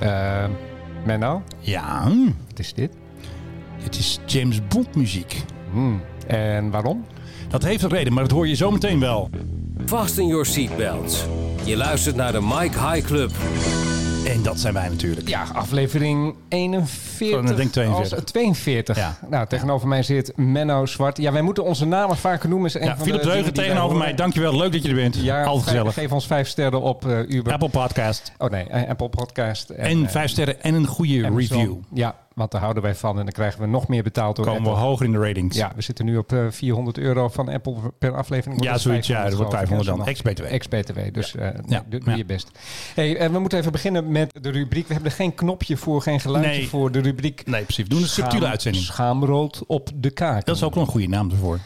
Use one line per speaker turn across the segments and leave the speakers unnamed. Eh Menno,
Ja,
wat is dit?
het is James Bond muziek.
Hmm. En waarom?
Dat heeft een reden, maar dat hoor je zo meteen wel.
Fasten your seatbelts. Je luistert naar de Mike High Club.
En dat zijn wij natuurlijk.
Ja, aflevering 41.
Oh, ik denk 42.
Als- 42.
Ja.
Nou, tegenover mij zit Menno Zwart. Ja, wij moeten onze namen vaker noemen. Is een
Ja,
van de
Philip
dingen
Dreugen
die wij
tegenover
horen.
mij. Dankjewel, leuk dat je er bent.
Ja,
Al
vijf-
gezellig.
Geef ons vijf sterren op eh, Uber.
Apple Podcast.
Oh nee, eh, Apple Podcast.
En
eh,
vijf sterren en een goede
Amazon.
review.
Ja, want daar houden wij van. En dan krijgen we nog meer betaald door
Komen we
Apple.
hoger in de ratings.
eh, Ja, we zitten nu op eh, 400 euro van Apple per aflevering.
Ja, zoiets, ja, dat wordt 500 dan.
Ex
Ex-BTW.
Ex-BTW, dus eh,
Ja.
doe- doe
Ja.
je best. Hey, eh, we moeten even beginnen met de rubriek. We hebben er geen knopje voor, geen geluidje
Nee.
voor. De rubriek
Nee, precies. We doen een subtiele
schaam-
uitzending.
Schaamrood op de kaak.
Dat is ook wel een goede naam ervoor.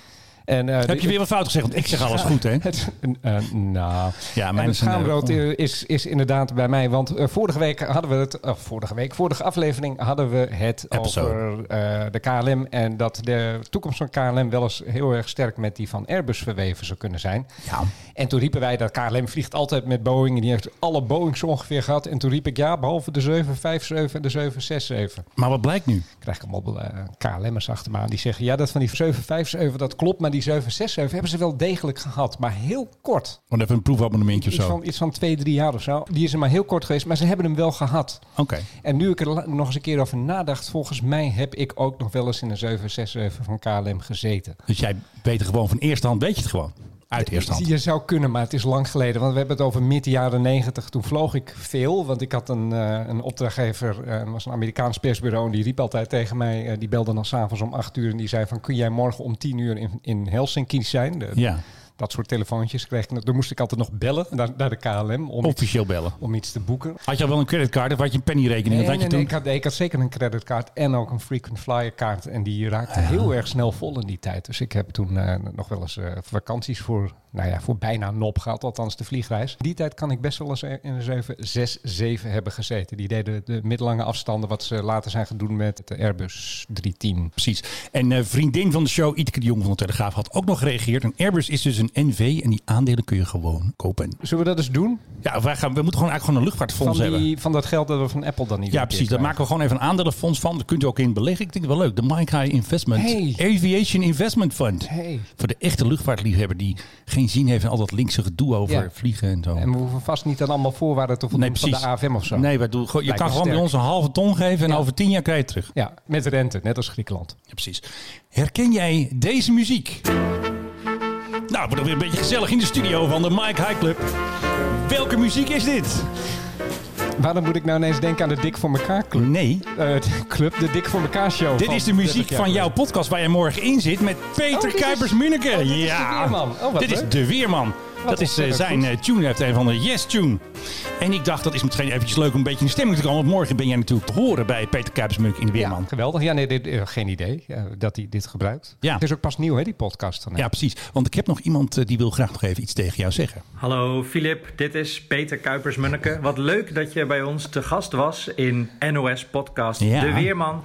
En, eh,
Heb je weer wat fout gezegd? Want ik zeg alles goed, hè?
Het, eh, nou,
Ja,
en
mijn
de
is een, eh,
schaamrood eh, is, is inderdaad bij mij. Want eh, vorige week hadden we het, eh, vorige week, vorige aflevering hadden we het
Episode.
over eh, de KLM. En dat de toekomst van KLM wel eens heel erg sterk met die van Airbus verweven zou kunnen zijn.
Ja.
En toen riepen wij dat KLM vliegt altijd met Boeing. En die heeft alle Boeings ongeveer gehad. En toen riep ik ja, behalve de 757 en de 767
Maar wat blijkt nu?
krijg ik allemaal eh, KLM'ers achter me aan. Die zeggen, ja, dat van die 757, dat klopt. Maar die 767 hebben ze wel degelijk gehad. Maar heel kort.
Want even een proefabonnementje of
Iets
zo.
van, iets van twee, drie jaar of zo. Die is er maar heel kort geweest. Maar ze hebben hem wel gehad.
Oké.
En nu ik er la- nog eens een keer over nadacht. Volgens mij heb ik ook nog wel eens in een 767 van KLM gezeten.
Dus jij weet er gewoon van eerste hand, weet je het gewoon. Uit eerste hand.
Je zou kunnen, maar het is lang geleden. Want we hebben het over midden jaren negentig. Toen vloog ik veel, want ik had een, eh, een opdrachtgever. eh, Het was een Amerikaans persbureau. En die riep altijd tegen mij. eh, die belde dan s'avonds om acht uur. En die zei van, kun jij morgen om tien uur in, in Helsinki zijn? De-
Ja,
Dat soort telefoontjes kreeg ik. Dan moest ik altijd nog bellen naar, naar de KLM om, iets,
officieel bellen.
om iets te boeken.
Had je al wel een creditcard of had je een pennyrekening?
Nee,
Wat had
nee,
je
nee,
toen?
ik, had, nee, ik had zeker een creditcard en ook een frequent flyer kaart. En die raakte
Ah.
heel erg snel vol in die tijd. Dus ik heb toen eh, nog wel eens eh, vakanties voor, nou ja, voor bijna nop gehad. Althans de vliegreis. Die tijd kan ik best wel eens in een 767 hebben gezeten. Die deden de middellange afstanden wat ze later zijn gaan doen met de Airbus 310.
Precies. En eh, vriendin van de show, Ietke de Jong van de Telegraaf, had ook nog gereageerd. Een Airbus is dus een NV en die aandelen kun je gewoon kopen.
Zullen we dat eens doen?
Ja, wij gaan, we moeten gewoon eigenlijk gewoon een
Van,
luchtvaartfonds hebben.
die, van dat geld dat we van Apple dan niet
Ja, precies. Daar maken we gewoon even een aandelenfonds van. Daar kunt u ook in beleggen. Ik denk wel leuk. De Mike High Investment
Hey.
Aviation Investment Fund.
Hey.
Voor de echte luchtvaartliefhebber die geen zin heeft in al dat linkse gedoe over
Ja.
vliegen en zo.
En we hoeven vast niet aan allemaal voorwaarden te voldoen van de AFM of zo.
Nee, wij doen, gewoon- je
Lijkt
kan
me
gewoon bij
sterk.
ons een halve ton geven en
Ja.
over tien jaar krijg je het terug.
Ja, met rente, net als Griekenland.
Ja, precies. Herken jij deze muziek? Nou, het wordt weer een beetje gezellig in de studio van de Mike High Club. Welke muziek is dit?
Waarom moet ik nou ineens denken aan de Dik voor elkaar club?
Nee,
Eh, de club, de Dik voor elkaar show.
dit
van
is de muziek
30 jaar
van jouw
geleden.
podcast waar jij morgen in zit met
Oh,
Peter
dit is-
Kuipers-Munneke.
oh, dit is de
ja,
Weerman. Oh, wat
dit is
leuk.
de Weerman. dat is eh,
ontzettend
zijn
goed.
eh, tune, hij heeft een van de Yes-tune. En ik dacht, dat is misschien eventjes leuk om een beetje in stemming te komen. Want morgen ben jij natuurlijk te horen bij Peter Kuipers-Munneke in de Weerman.
Ja, geweldig. Ja, nee, dit, eh, geen idee eh, dat hij dit gebruikt.
Ja.
Het is ook pas nieuw, hè, die podcast. Van hem.
Ja, precies. Want ik heb nog iemand eh, die wil graag nog even iets tegen jou zeggen.
Hallo Filip, dit is Peter Kuipers-Munneke. Wat leuk dat je bij ons te gast was in NOS Podcast
Ja.
De Weerman.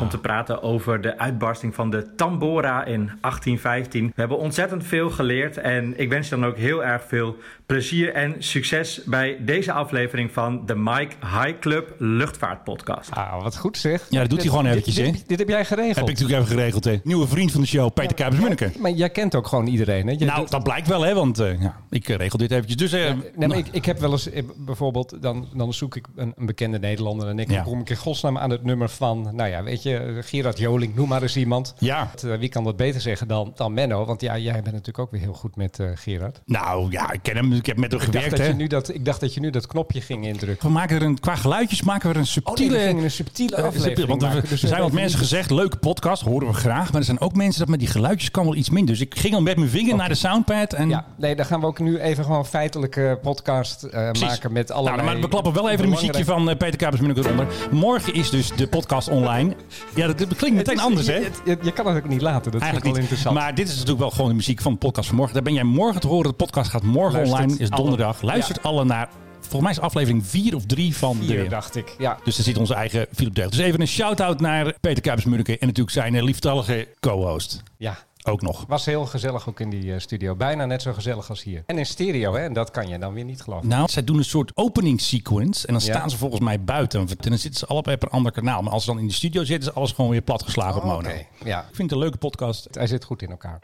Om te praten over de uitbarsting van de Tambora in 1815. We hebben ontzettend veel geleerd en ik wens je dan ook heel erg veel plezier en succes bij deze aflevering van de Mike High Club Luchtvaart Podcast.
Ah, wat goed zeg.
Ja, dat doet hij gewoon
dit-
eventjes,
dit-
hè?
Dit, dit heb jij geregeld.
Heb ik natuurlijk even geregeld, hè. Nieuwe vriend van de show, Peter Kuipers-Munneke.
Maar jij kent ook gewoon iedereen, hè? Jij
Nou,
doet-
dat blijkt wel, hè, want eh, ja, ik eh, regel dit eventjes. Dus eh,
Nee, maar
nou,
ik, ik heb wel eens eh, bijvoorbeeld, dan, dan zoek ik een, een bekende Nederlander en ik
Ja.
kom ik in godsnaam aan het nummer van, nou ja, weet je, Gerard Joling, noem maar eens iemand.
ja.
Eh, Wie kan dat beter zeggen dan, dan Menno? Want ja, jij bent natuurlijk ook weer heel goed met eh, Gerard.
nou ja, ik ken hem, ik heb met hem
Ik dacht,
gewerkt,
dat
hè.
je nu dat, ik dacht dat je nu dat knopje ging indrukken.
We maken er een, qua geluidjes maken we er een subtiele...
Oh, we gingen een subtiele
eh,
aflevering
want er-
maken,
er
dus we
zijn wat
weten
mensen
niet-
gezegd, leuke podcast, horen we graag. Maar er zijn ook mensen dat met die geluidjes kan wel iets minder. Dus ik ging al met mijn vinger naar de soundpad. En,
Ja, nee, dan gaan we ook nu even gewoon een feitelijke podcast eh,
Precies.
maken met
Nou,
allerlei...
maar we klappen wel even een
belangrijke-
muziekje van eh, Peter Kuipers Munneke eronder. Morgen is dus de podcast online. Ja, dat, dat klinkt
Het
meteen
is-
anders,
je-
hè?
het- Je, je kan het ook niet laten, dat vind ik wel
Eigenlijk niet.
interessant.
Maar dit is natuurlijk wel gewoon de muziek van de podcast van morgen. Daar ben jij morgen te horen. De podcast gaat morgen
Luistert
online. Is
alle-
donderdag. Luistert alle naar. Volgens mij is aflevering 4 of 3 van de.
Hier, dacht ik, ja.
Dus daar zit onze eigen Philip Deugd. Dus even een shout-out naar Peter Kuipers-Munneke en natuurlijk zijn eh, lieftallige co-host.
ja.
Ook nog.
Was heel gezellig ook in die eh, studio. Bijna net zo gezellig als hier. En in stereo, hè? En dat kan je dan weer niet geloven.
Nou, zij doen een soort opening sequence. En dan
Ja.
staan ze volgens mij buiten. En dan zitten ze allebei op een ander kanaal. Maar als ze dan in de studio zitten, is alles gewoon weer platgeslagen op mono.
Oh, Oké, Ja,
Ik vind het een leuke podcast.
Hij zit goed in elkaar.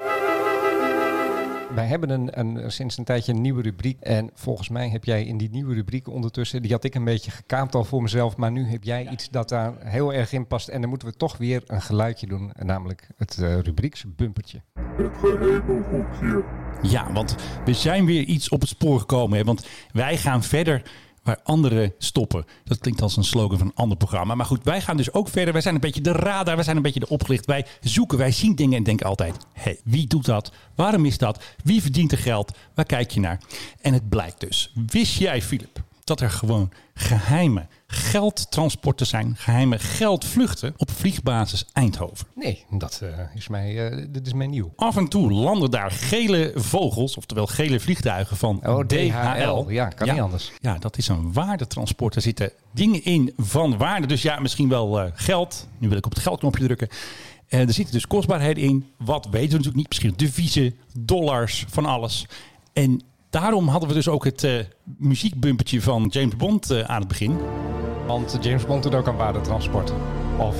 Wij hebben een, een, sinds een tijdje een nieuwe rubriek. En volgens mij heb jij in die nieuwe rubriek ondertussen... die had ik een beetje gekaapt al voor mezelf. Maar nu heb jij iets dat daar heel erg in past. En dan moeten we toch weer een geluidje doen. en Namelijk het eh, rubrieksbumpertje.
Ja, want we zijn weer iets op het spoor gekomen. Hè? Want wij gaan verder waar anderen stoppen. Dat klinkt als een slogan van een ander programma. Maar goed, wij gaan dus ook verder. Wij zijn een beetje de radar. Wij zijn een beetje de opgelicht. Wij zoeken, wij zien dingen en denken altijd... hé, hey, wie doet dat? Waarom is dat? Wie verdient er geld? Waar kijk je naar? En het blijkt dus. Wist jij, Filip, dat er gewoon geheime geldtransporten zijn... geheime geldvluchten op vliegbasis Eindhoven?
Nee, dat eh, is mij, eh, dit is mij nieuw.
Af en toe landen daar gele vogels, oftewel gele vliegtuigen van
Oh,
DHL.
DHL. Ja, kan niet anders.
Ja, dat is een waardetransport. Daar zitten dingen in van waarde. Dus ja, misschien wel eh, geld. Nu wil ik op het geldknopje drukken. Eh, er zitten dus kostbaarheden in. Wat weten we natuurlijk niet. Misschien deviezen, dollars, van alles. En daarom hadden we dus ook het eh muziekbumpertje van James Bond eh, aan het begin.
Want James Bond doet ook aan waardetransport. Of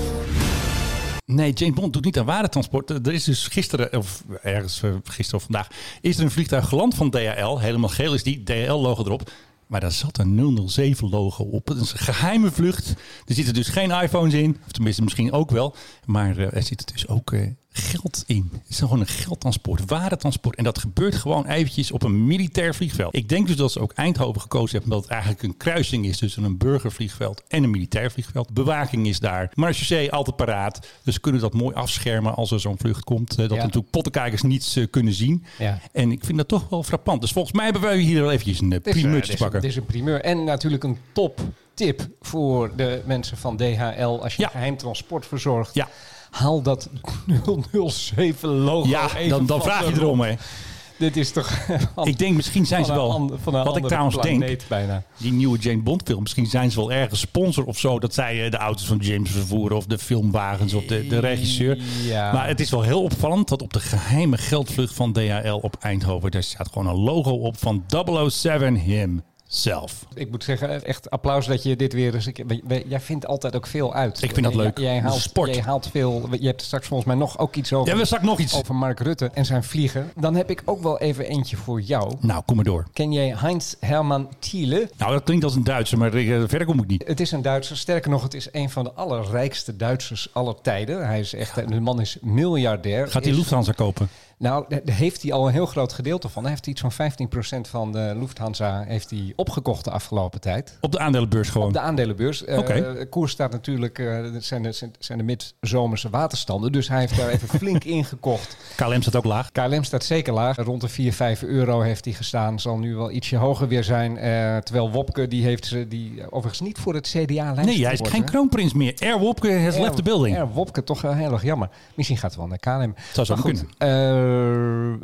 Nee, James Bond doet niet aan waretransport. Er er is dus gisteren, of ergens eh, gisteren of vandaag, is er een vliegtuig geland van DHL. Helemaal geel is die, DHL-logo erop. Maar daar zat een 007-logo op. Het is een geheime vlucht. Er zitten dus geen iPhones in. Of tenminste, misschien ook wel. Maar eh, er zit dus ook eh, geld in. Het is gewoon een geldtransport, waretransport. En dat gebeurt gewoon eventjes op een militair vliegveld. Ik denk dus dat ze ook Eindhoven gekozen hebben... omdat het eigenlijk een kruising is tussen een burgervliegveld en een militair vliegveld. Bewaking is daar. Marchusee altijd paraat. Dus ze kunnen dat mooi afschermen als er zo'n vlucht komt. eh, dat
Ja.
natuurlijk pottenkijkers niets eh, kunnen zien.
Ja.
En ik vind dat toch wel frappant. Dus volgens mij hebben wij hier wel eventjes een eh,
Dit is, eh,
primeurtje te
dit is-
pakken.
Dit is een primeur. En natuurlijk een top tip voor de mensen van DHL. Als je
Ja.
geheim transport verzorgt.
Ja.
Haal dat 007 logo
Ja,
even
dan, dan
van
vraag je
de-
erom. Hè.
Dit is toch van-
Ik denk, misschien zijn ze
van
wel...
een an- van een
wat ik
andere
trouwens
planeet
denk,
bijna.
die nieuwe James Bond film. Misschien zijn ze wel ergens sponsor of zo. Dat zij eh, de auto's van James vervoeren of de filmwagens of de, de regisseur.
Ja.
Maar het is wel heel opvallend dat op de geheime geldvlucht van DHL op Eindhoven... daar staat gewoon een logo op van 007 himself.
Ik moet zeggen, echt applaus dat je dit weer eens... een keer- we- we- jij vindt altijd ook veel uit.
Ik vind dat
Jij-
leuk.
Jij,
Dat is
haalt,
sport.
jij haalt veel... Je hebt straks volgens mij nog ook iets over,
Ja, we zag nog iets.
over Mark Rutte en zijn vliegen. Dan heb ik ook wel even eentje voor jou.
Nou, kom maar door.
Ken jij Heinz Hermann Thiele?
Nou, dat klinkt als een Duitser, maar eh, verder kom ik niet.
Het is een Duitser. Sterker nog, het is een van de allerrijkste Duitsers aller tijden. Hij is echt, de man is miljardair.
Gaat die
Is-
Lufthansa kopen?
Nou, daar heeft hij al een heel groot gedeelte van. Hij heeft iets van 15% van de Lufthansa heeft hij opgekocht de afgelopen tijd.
Op de aandelenbeurs gewoon.
De aandelenbeurs. Eh,
Oké.
de koers staat natuurlijk, eh, dat zijn de, zijn- zijn de midzomerse waterstanden. Dus hij heeft daar even flink ingekocht.
KLM staat ook laag.
KLM staat zeker laag. Rond de 4, 5 euro heeft hij gestaan. Zal nu wel ietsje hoger weer zijn. Eh, terwijl Wopke, die heeft ze, die overigens niet voor het CDA lijst.
Nee, hij is geen kroonprins meer. Air Wopke has left the building.
Ja, Wopke, toch wel heel erg jammer. Misschien gaat het wel naar KLM.
Zou zo
Maar goed, eh,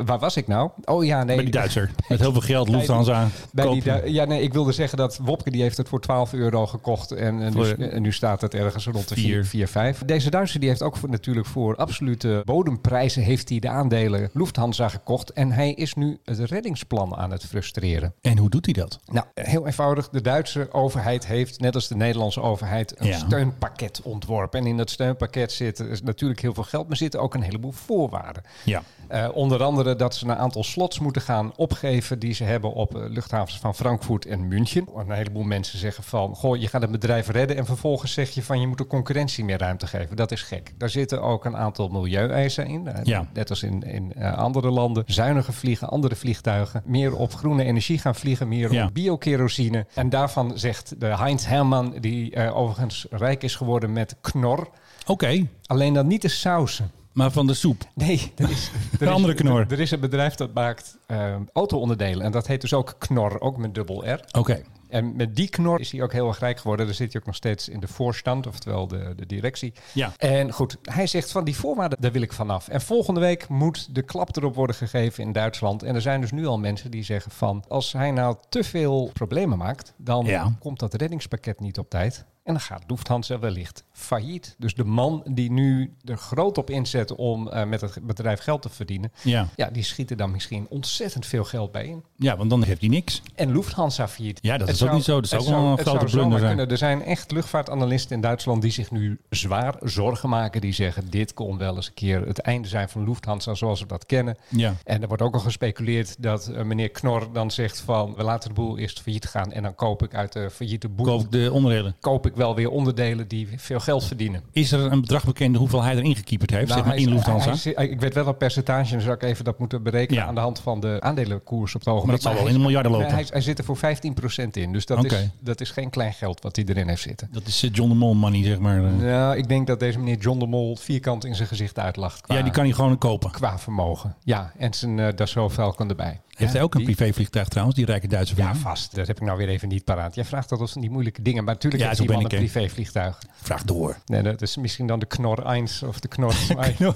waar was ik nou? Oh ja, nee.
Bij die Duitser. Met heel veel geld, Lufthansa.
Bij die
kopen.
Du- ja, nee, ik wilde zeggen dat Wopke die heeft het voor 12 euro gekocht. En, en,
Voor-
nu, en nu staat het ergens rond de
Vier.
4, 4 5. Deze Duitser die heeft ook voor, natuurlijk voor absolute bodemprijzen heeft hij de aandelen Lufthansa gekocht. En hij is nu het reddingsplan aan het frustreren.
En hoe doet hij dat?
Nou, heel eenvoudig. De Duitse overheid heeft, net als de Nederlandse overheid, een
Ja.
steunpakket ontworpen. En in dat steunpakket zit is natuurlijk heel veel geld, maar zitten ook een heleboel voorwaarden.
Ja.
Eh, onder andere dat ze een aantal slots moeten gaan opgeven die ze hebben op eh, luchthavens van Frankfurt en München. Een heleboel mensen zeggen van, goh, je gaat het bedrijf redden en vervolgens zeg je van, je moet de concurrentie meer ruimte geven. Dat is gek. Daar zitten ook een aantal milieueisen in. Eh,
Ja.
Net als in, in eh, andere landen. Zuiniger vliegen, andere vliegtuigen. Meer op groene energie gaan vliegen, meer
Ja.
op biokerosine. En daarvan zegt de Heinz Hermann, die eh, overigens rijk is geworden met knor.
Oké,
Alleen dan niet de sausen.
maar van de soep.
Nee, er is, er
Een andere
is,
knor.
Er, er is een bedrijf dat maakt eh, auto-onderdelen. En dat heet dus ook Knor, ook met dubbel R.
Oké.
En met die knor is hij ook heel erg rijk geworden. Daar zit hij ook nog steeds in de voorstand, oftewel de, de directie.
Ja.
En goed, hij zegt van die voorwaarden, daar wil ik vanaf. En volgende week moet de klap erop worden gegeven in Duitsland. En er zijn dus nu al mensen die zeggen van... als hij nou te veel problemen maakt, dan
Ja.
komt dat reddingspakket niet op tijd. En dan gaat Lufthansa wellicht failliet. Dus de man die nu er groot op inzet om eh, met het bedrijf geld te verdienen,
Ja.
ja, die schieten dan misschien ontzettend veel geld bij in.
ja, want dan heeft hij niks.
En Lufthansa failliet.
Ja, dat
Het
is ook niet zo. Dat is
het
ook wel een
het zou
grote
zomaar
blunder zijn.
kunnen. Er zijn echt luchtvaartanalisten in Duitsland die zich nu zwaar zorgen maken. Die zeggen, dit kon wel eens een keer het einde zijn van Lufthansa zoals we dat kennen.
Ja.
En er wordt ook al gespeculeerd dat eh, meneer Knor dan zegt van... we laten de boel eerst failliet gaan en dan koop ik uit de failliete boel...
Koop ik de onderdelen.
koop ik wel weer onderdelen die veel geld verdienen.
Is er een bedrag bekend hoeveel hij erin gekieperd heeft?
Nou,
zeg maar
hij is-
in Lufthansa.
hij is- ik weet wel wat percentage, dan zou ik even dat moeten berekenen...
Ja.
aan de hand van de aandelenkoers op het
maar
ogenblik.
dat zal wel
hij
in de miljarden
Nee,
lopen.
hij, hij zit er voor 15% in. Dus dat, is,
Oké.
dat is geen klein geld wat hij erin heeft zitten.
Dat is eh, John de Mol money, zeg maar. eh.
Nou, ik denk dat deze meneer John de Mol vierkant in zijn gezicht uitlacht. Qua,
ja, die kan hij gewoon kopen.
qua vermogen. Ja, en zijn eh Dassault Falcon erbij.
Heeft
Ja,
hij ook een
die-
privévliegtuig trouwens, die rijke Duitse
Ja,
vrouw?
vast. Dat heb ik nou weer even niet paraat. Jij vraagt dat als van die moeilijke dingen. Maar natuurlijk
Ja,
heeft
zo ben
iemand een
ik, hè.
privévliegtuig.
Vraag door.
Nee, dat is misschien dan de Knor 1 of de Knor 2.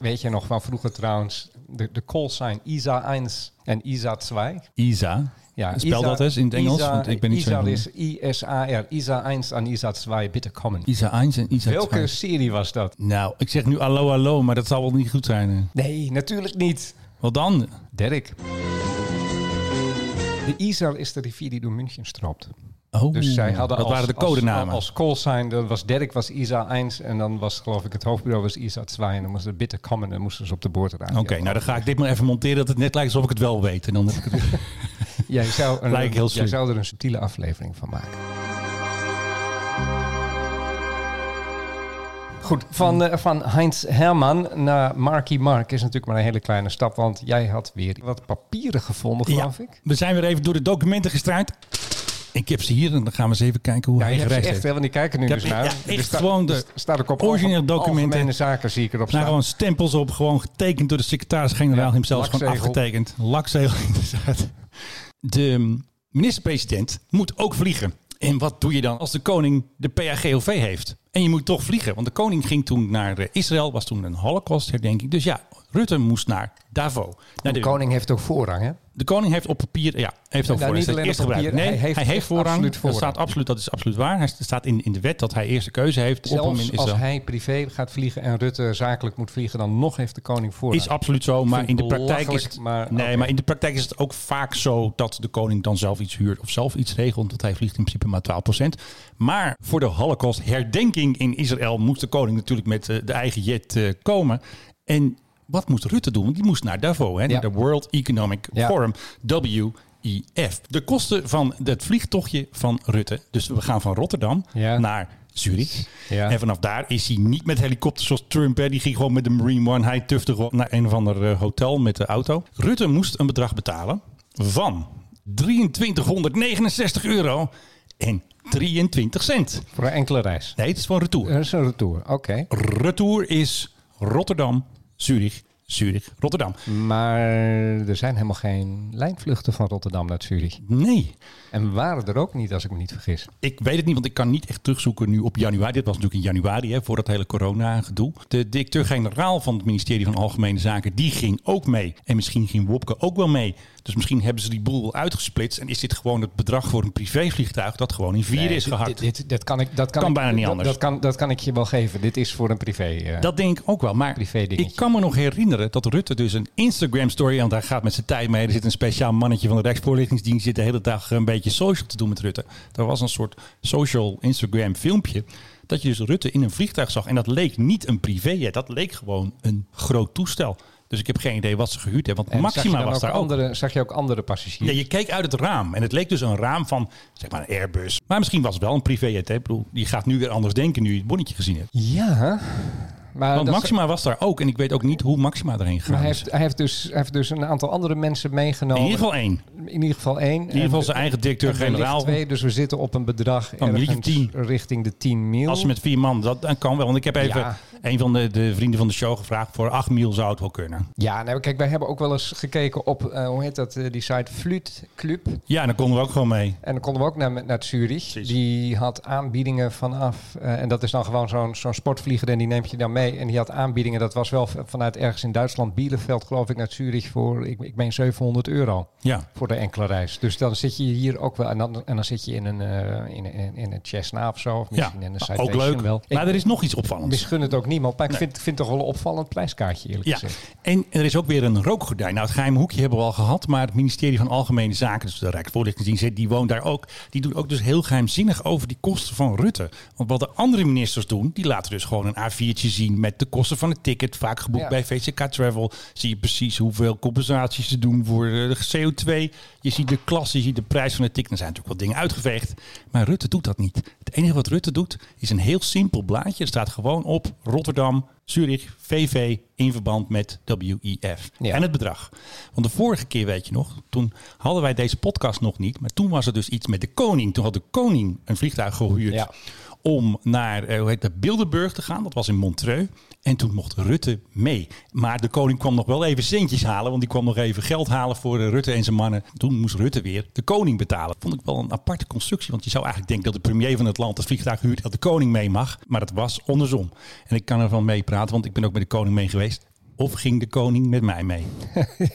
Weet je nog van vroeger trouwens? De, de callsign ISA 1 en ISA 2.
Isa.
Ja,
Spel dat eens in het Engels,
ISA,
want ik ben niet zo-
ISA is ISAR. ISA 1 en ISA 2, bitte komen.
Isa 1 en Isa
Welke
2.
serie was dat?
Nou, ik zeg nu allo allo, maar dat zal wel niet goed zijn. eh.
Nee, natuurlijk niet.
Wat dan?
Dirk. De Isar is de rivier die door München stroopt.
Oh,
Dus zij hadden
dat
als,
waren de
als-
codenamen.
Als, callsign, dat was Dirk was ISA 1 en dan was geloof ik het hoofdbureau was ISA 2 en dan moesten ze bitter komen en dan moesten ze op de boordradio.
Oké, nou dan ga ik dit maar even monteren dat het net lijkt alsof ik het wel weet. En dan heb ik het...
Jij zou, een-
Lijkt heel
jij
slim.
zou er een subtiele aflevering van maken. Goed,
Hmm.
van, eh, van Heinz Herman naar Marky Mark is natuurlijk maar een hele kleine stap. Want jij had weer wat papieren gevonden, geloof
Ja,
ik.
we zijn weer even door de documenten gestruind. Ik heb ze hier en dan gaan we eens even kijken hoe
Ja,
hij
je hebt ze
gereisd
echt,
heeft.
hè, want die kijken nu
Ik
dus
heb-
naar.
ja,
Er
echt
sta-
gewoon de
er staat ook op
originele
algemene-
documenten.
algemene zaken zie ik erop
Er staan
staan.
gewoon stempels op, gewoon getekend door de secretaris-generaal
Ja,
himself, gewoon
lakzegel.
afgetekend. Lakzegel, inderdaad. De minister-president moet ook vliegen. En wat doe je dan als de koning de PAGOV heeft? En je moet toch vliegen, want de koning ging toen naar eh, Israël, was toen een holocaustherdenking. Dus ja, Rutte moest naar Davos. Naar
de koning heeft ook voorrang, hè?
de koning heeft op papier, ja, heeft
Nou,
ook voorrang.
niet
Dat is
alleen
eerst
op
gebruik.
papier,
Nee,
hij
hij
heeft
heeft,
echt
voorrang.
absoluut
Dat,
voorrang.
staat absoluut, dat is absoluut waar. Hij staat in, in de wet dat hij eerste keuze heeft op hem in
Zelfs als
Israël.
hij privé gaat vliegen en Rutte zakelijk moet vliegen, dan nog heeft de koning voorrang.
Is absoluut zo, maar in
Vind ik
de praktijk is
belachelijk,
het,
maar
nee,
oké.
maar in de praktijk is het ook vaak zo dat de koning dan zelf iets huurt of zelf iets regelt, want hij vliegt in principe maar 12%. Maar voor de Holocaust herdenking in Israël moest de koning natuurlijk met eh, de eigen jet eh, komen. En wat moest Rutte doen? Want die moest naar Davos, hè, naar de World Economic
Ja.
Forum, WEF. De kosten van het vliegtochtje van Rutte. Dus we gaan van Rotterdam
Ja.
naar Zurich.
Ja.
En vanaf daar is hij niet met helikopters zoals Trump. Hè. Die ging gewoon met de Marine One. Hij tufte gewoon naar een of ander eh, hotel met de auto. Rutte moest een bedrag betalen van 2369 euro en 23 cent.
Voor een enkele reis.
Nee, het is van retour.
Er is een retour, oké.
Retour is Rotterdam, Zurich, Zurich, Rotterdam.
Maar er zijn helemaal geen lijnvluchten van Rotterdam naar Zurich.
Nee,
En waren er ook niet, als ik me niet vergis.
Ik weet het niet, want ik kan niet echt terugzoeken nu op januari. Dit was natuurlijk in januari, hè, voor dat hele corona-gedoe. De directeur-generaal van het ministerie van Algemene Zaken, die ging ook mee. En misschien ging Wopke ook wel mee. Dus misschien hebben ze die boel wel uitgesplitst. En is dit gewoon het bedrag voor een privévliegtuig dat gewoon in vier is gehakt.
Dit, dit, dit- dat kan ik, dat kan
Kan
ik-
bijna niet
dat-
anders.
Dat kan, dat kan ik je wel geven. Dit is voor een privé. eh,
Dat denk ik ook wel. Maar
Privé dingetje.
ik kan me nog herinneren dat Rutte dus een Instagram-story... want hij gaat met zijn tijd mee. Er zit een speciaal mannetje van de Rijksvoorlichtingsdienst... die zit de hele dag een beetje social te doen met Rutte. Er was een soort social Instagram-filmpje... dat je dus Rutte in een vliegtuig zag. En dat leek niet een privéjet. Dat leek gewoon een groot toestel. Dus ik heb geen idee wat ze gehuurd hebben. Want
en zag je
Maxima
dan
was
ook
daar ook.
andere, Zag je ook andere
Ja,
passagiers?
je keek uit het raam en het leek dus een raam van zeg maar een Airbus. Maar misschien was het wel een privéjet. hè. Ik bedoel, die gaat nu weer anders denken nu je het bonnetje gezien hebt.
Ja, maar,
Want
dat-
Maxima was daar ook. En ik weet ook niet hoe Maxima erheen
maar
gegaan
hij,
is.
heeft, hij, heeft dus, hij heeft dus een aantal andere mensen
In
meegenomen.
ieder geval één.
in ieder geval één.
In ieder geval zijn eigen directeur-generaal.
Twee, dus we zitten op een bedrag
Een miljoentje
ergens
tien.
richting de 10 mil.
Als ze met vier man, dat dan kan wel. Want ik heb even
Ja.
een van de, de vrienden van de show gevraagd. Voor acht mil zou het wel kunnen.
Ja, nou, kijk, wij hebben ook wel eens gekeken op, eh, hoe heet dat, eh, die site Fluit Club.
Ja, dan konden we ook gewoon mee.
En dan konden we ook naar, naar Zurich. Die had aanbiedingen vanaf, eh, en dat is dan gewoon zo'n zo'n sportvlieger en die neemt je dan mee. En die had aanbiedingen. Dat was wel v- vanuit ergens in Duitsland, Bielefeld, geloof ik, naar Zurich voor, ik, ik meen 700 euro
Ja.
voor de enkele reis. Dus dan zit je hier ook wel. En dan, en dan zit je in een, eh in, in, in een Cessna of zo. Of
Ja,
misschien in een
ook
Citation
leuk.
wel.
Maar
Ik
er is nog iets opvallends.
misgun het ook niemand. Maar ik vind, vind het toch wel een opvallend prijskaartje, eerlijk
Ja,
gezegd.
en er is ook weer een rookgordijn. Nou, het geheime hoekje hebben we al gehad, maar het ministerie van Algemene Zaken, dus de Rijksvoorlichtingsdienst, die woont daar ook. Die doet ook dus heel geheimzinnig over die kosten van Rutte. Want wat de andere ministers doen, die laten dus gewoon een A4'tje zien met de kosten van het ticket, vaak geboekt
Ja.
bij VCK Travel. Zie je precies hoeveel compensaties ze doen voor eh, de CO2. Je ziet de klas, je ziet de prijs van het ticket. Er zijn natuurlijk wat dingen uitgeveegd, maar Rutte doet dat niet. Het enige wat Rutte doet, is een heel simpel blaadje. Er staat gewoon op Rotterdam, Zurich, VV in verband met WIF.
Ja.
En het bedrag. Want de vorige keer, weet je nog, toen hadden wij deze podcast nog niet. Maar toen was er dus iets met de koning. Toen had de koning een vliegtuig gehuurd
Ja.
om naar eh, hoe heet dat, Bilderburg te gaan. Dat was in Montreux. En toen mocht Rutte mee. Maar de koning kwam nog wel even centjes halen. Want die kwam nog even geld halen voor eh, Rutte en zijn mannen. Toen moest Rutte weer de koning betalen. Vond ik wel een aparte constructie. Want je zou eigenlijk denken dat de premier van het land het vliegtuig huurt. Dat de koning mee mag. Maar dat was andersom. En ik kan ervan meepraten. Want ik ben ook met de koning mee geweest. Of ging de koning met mij mee?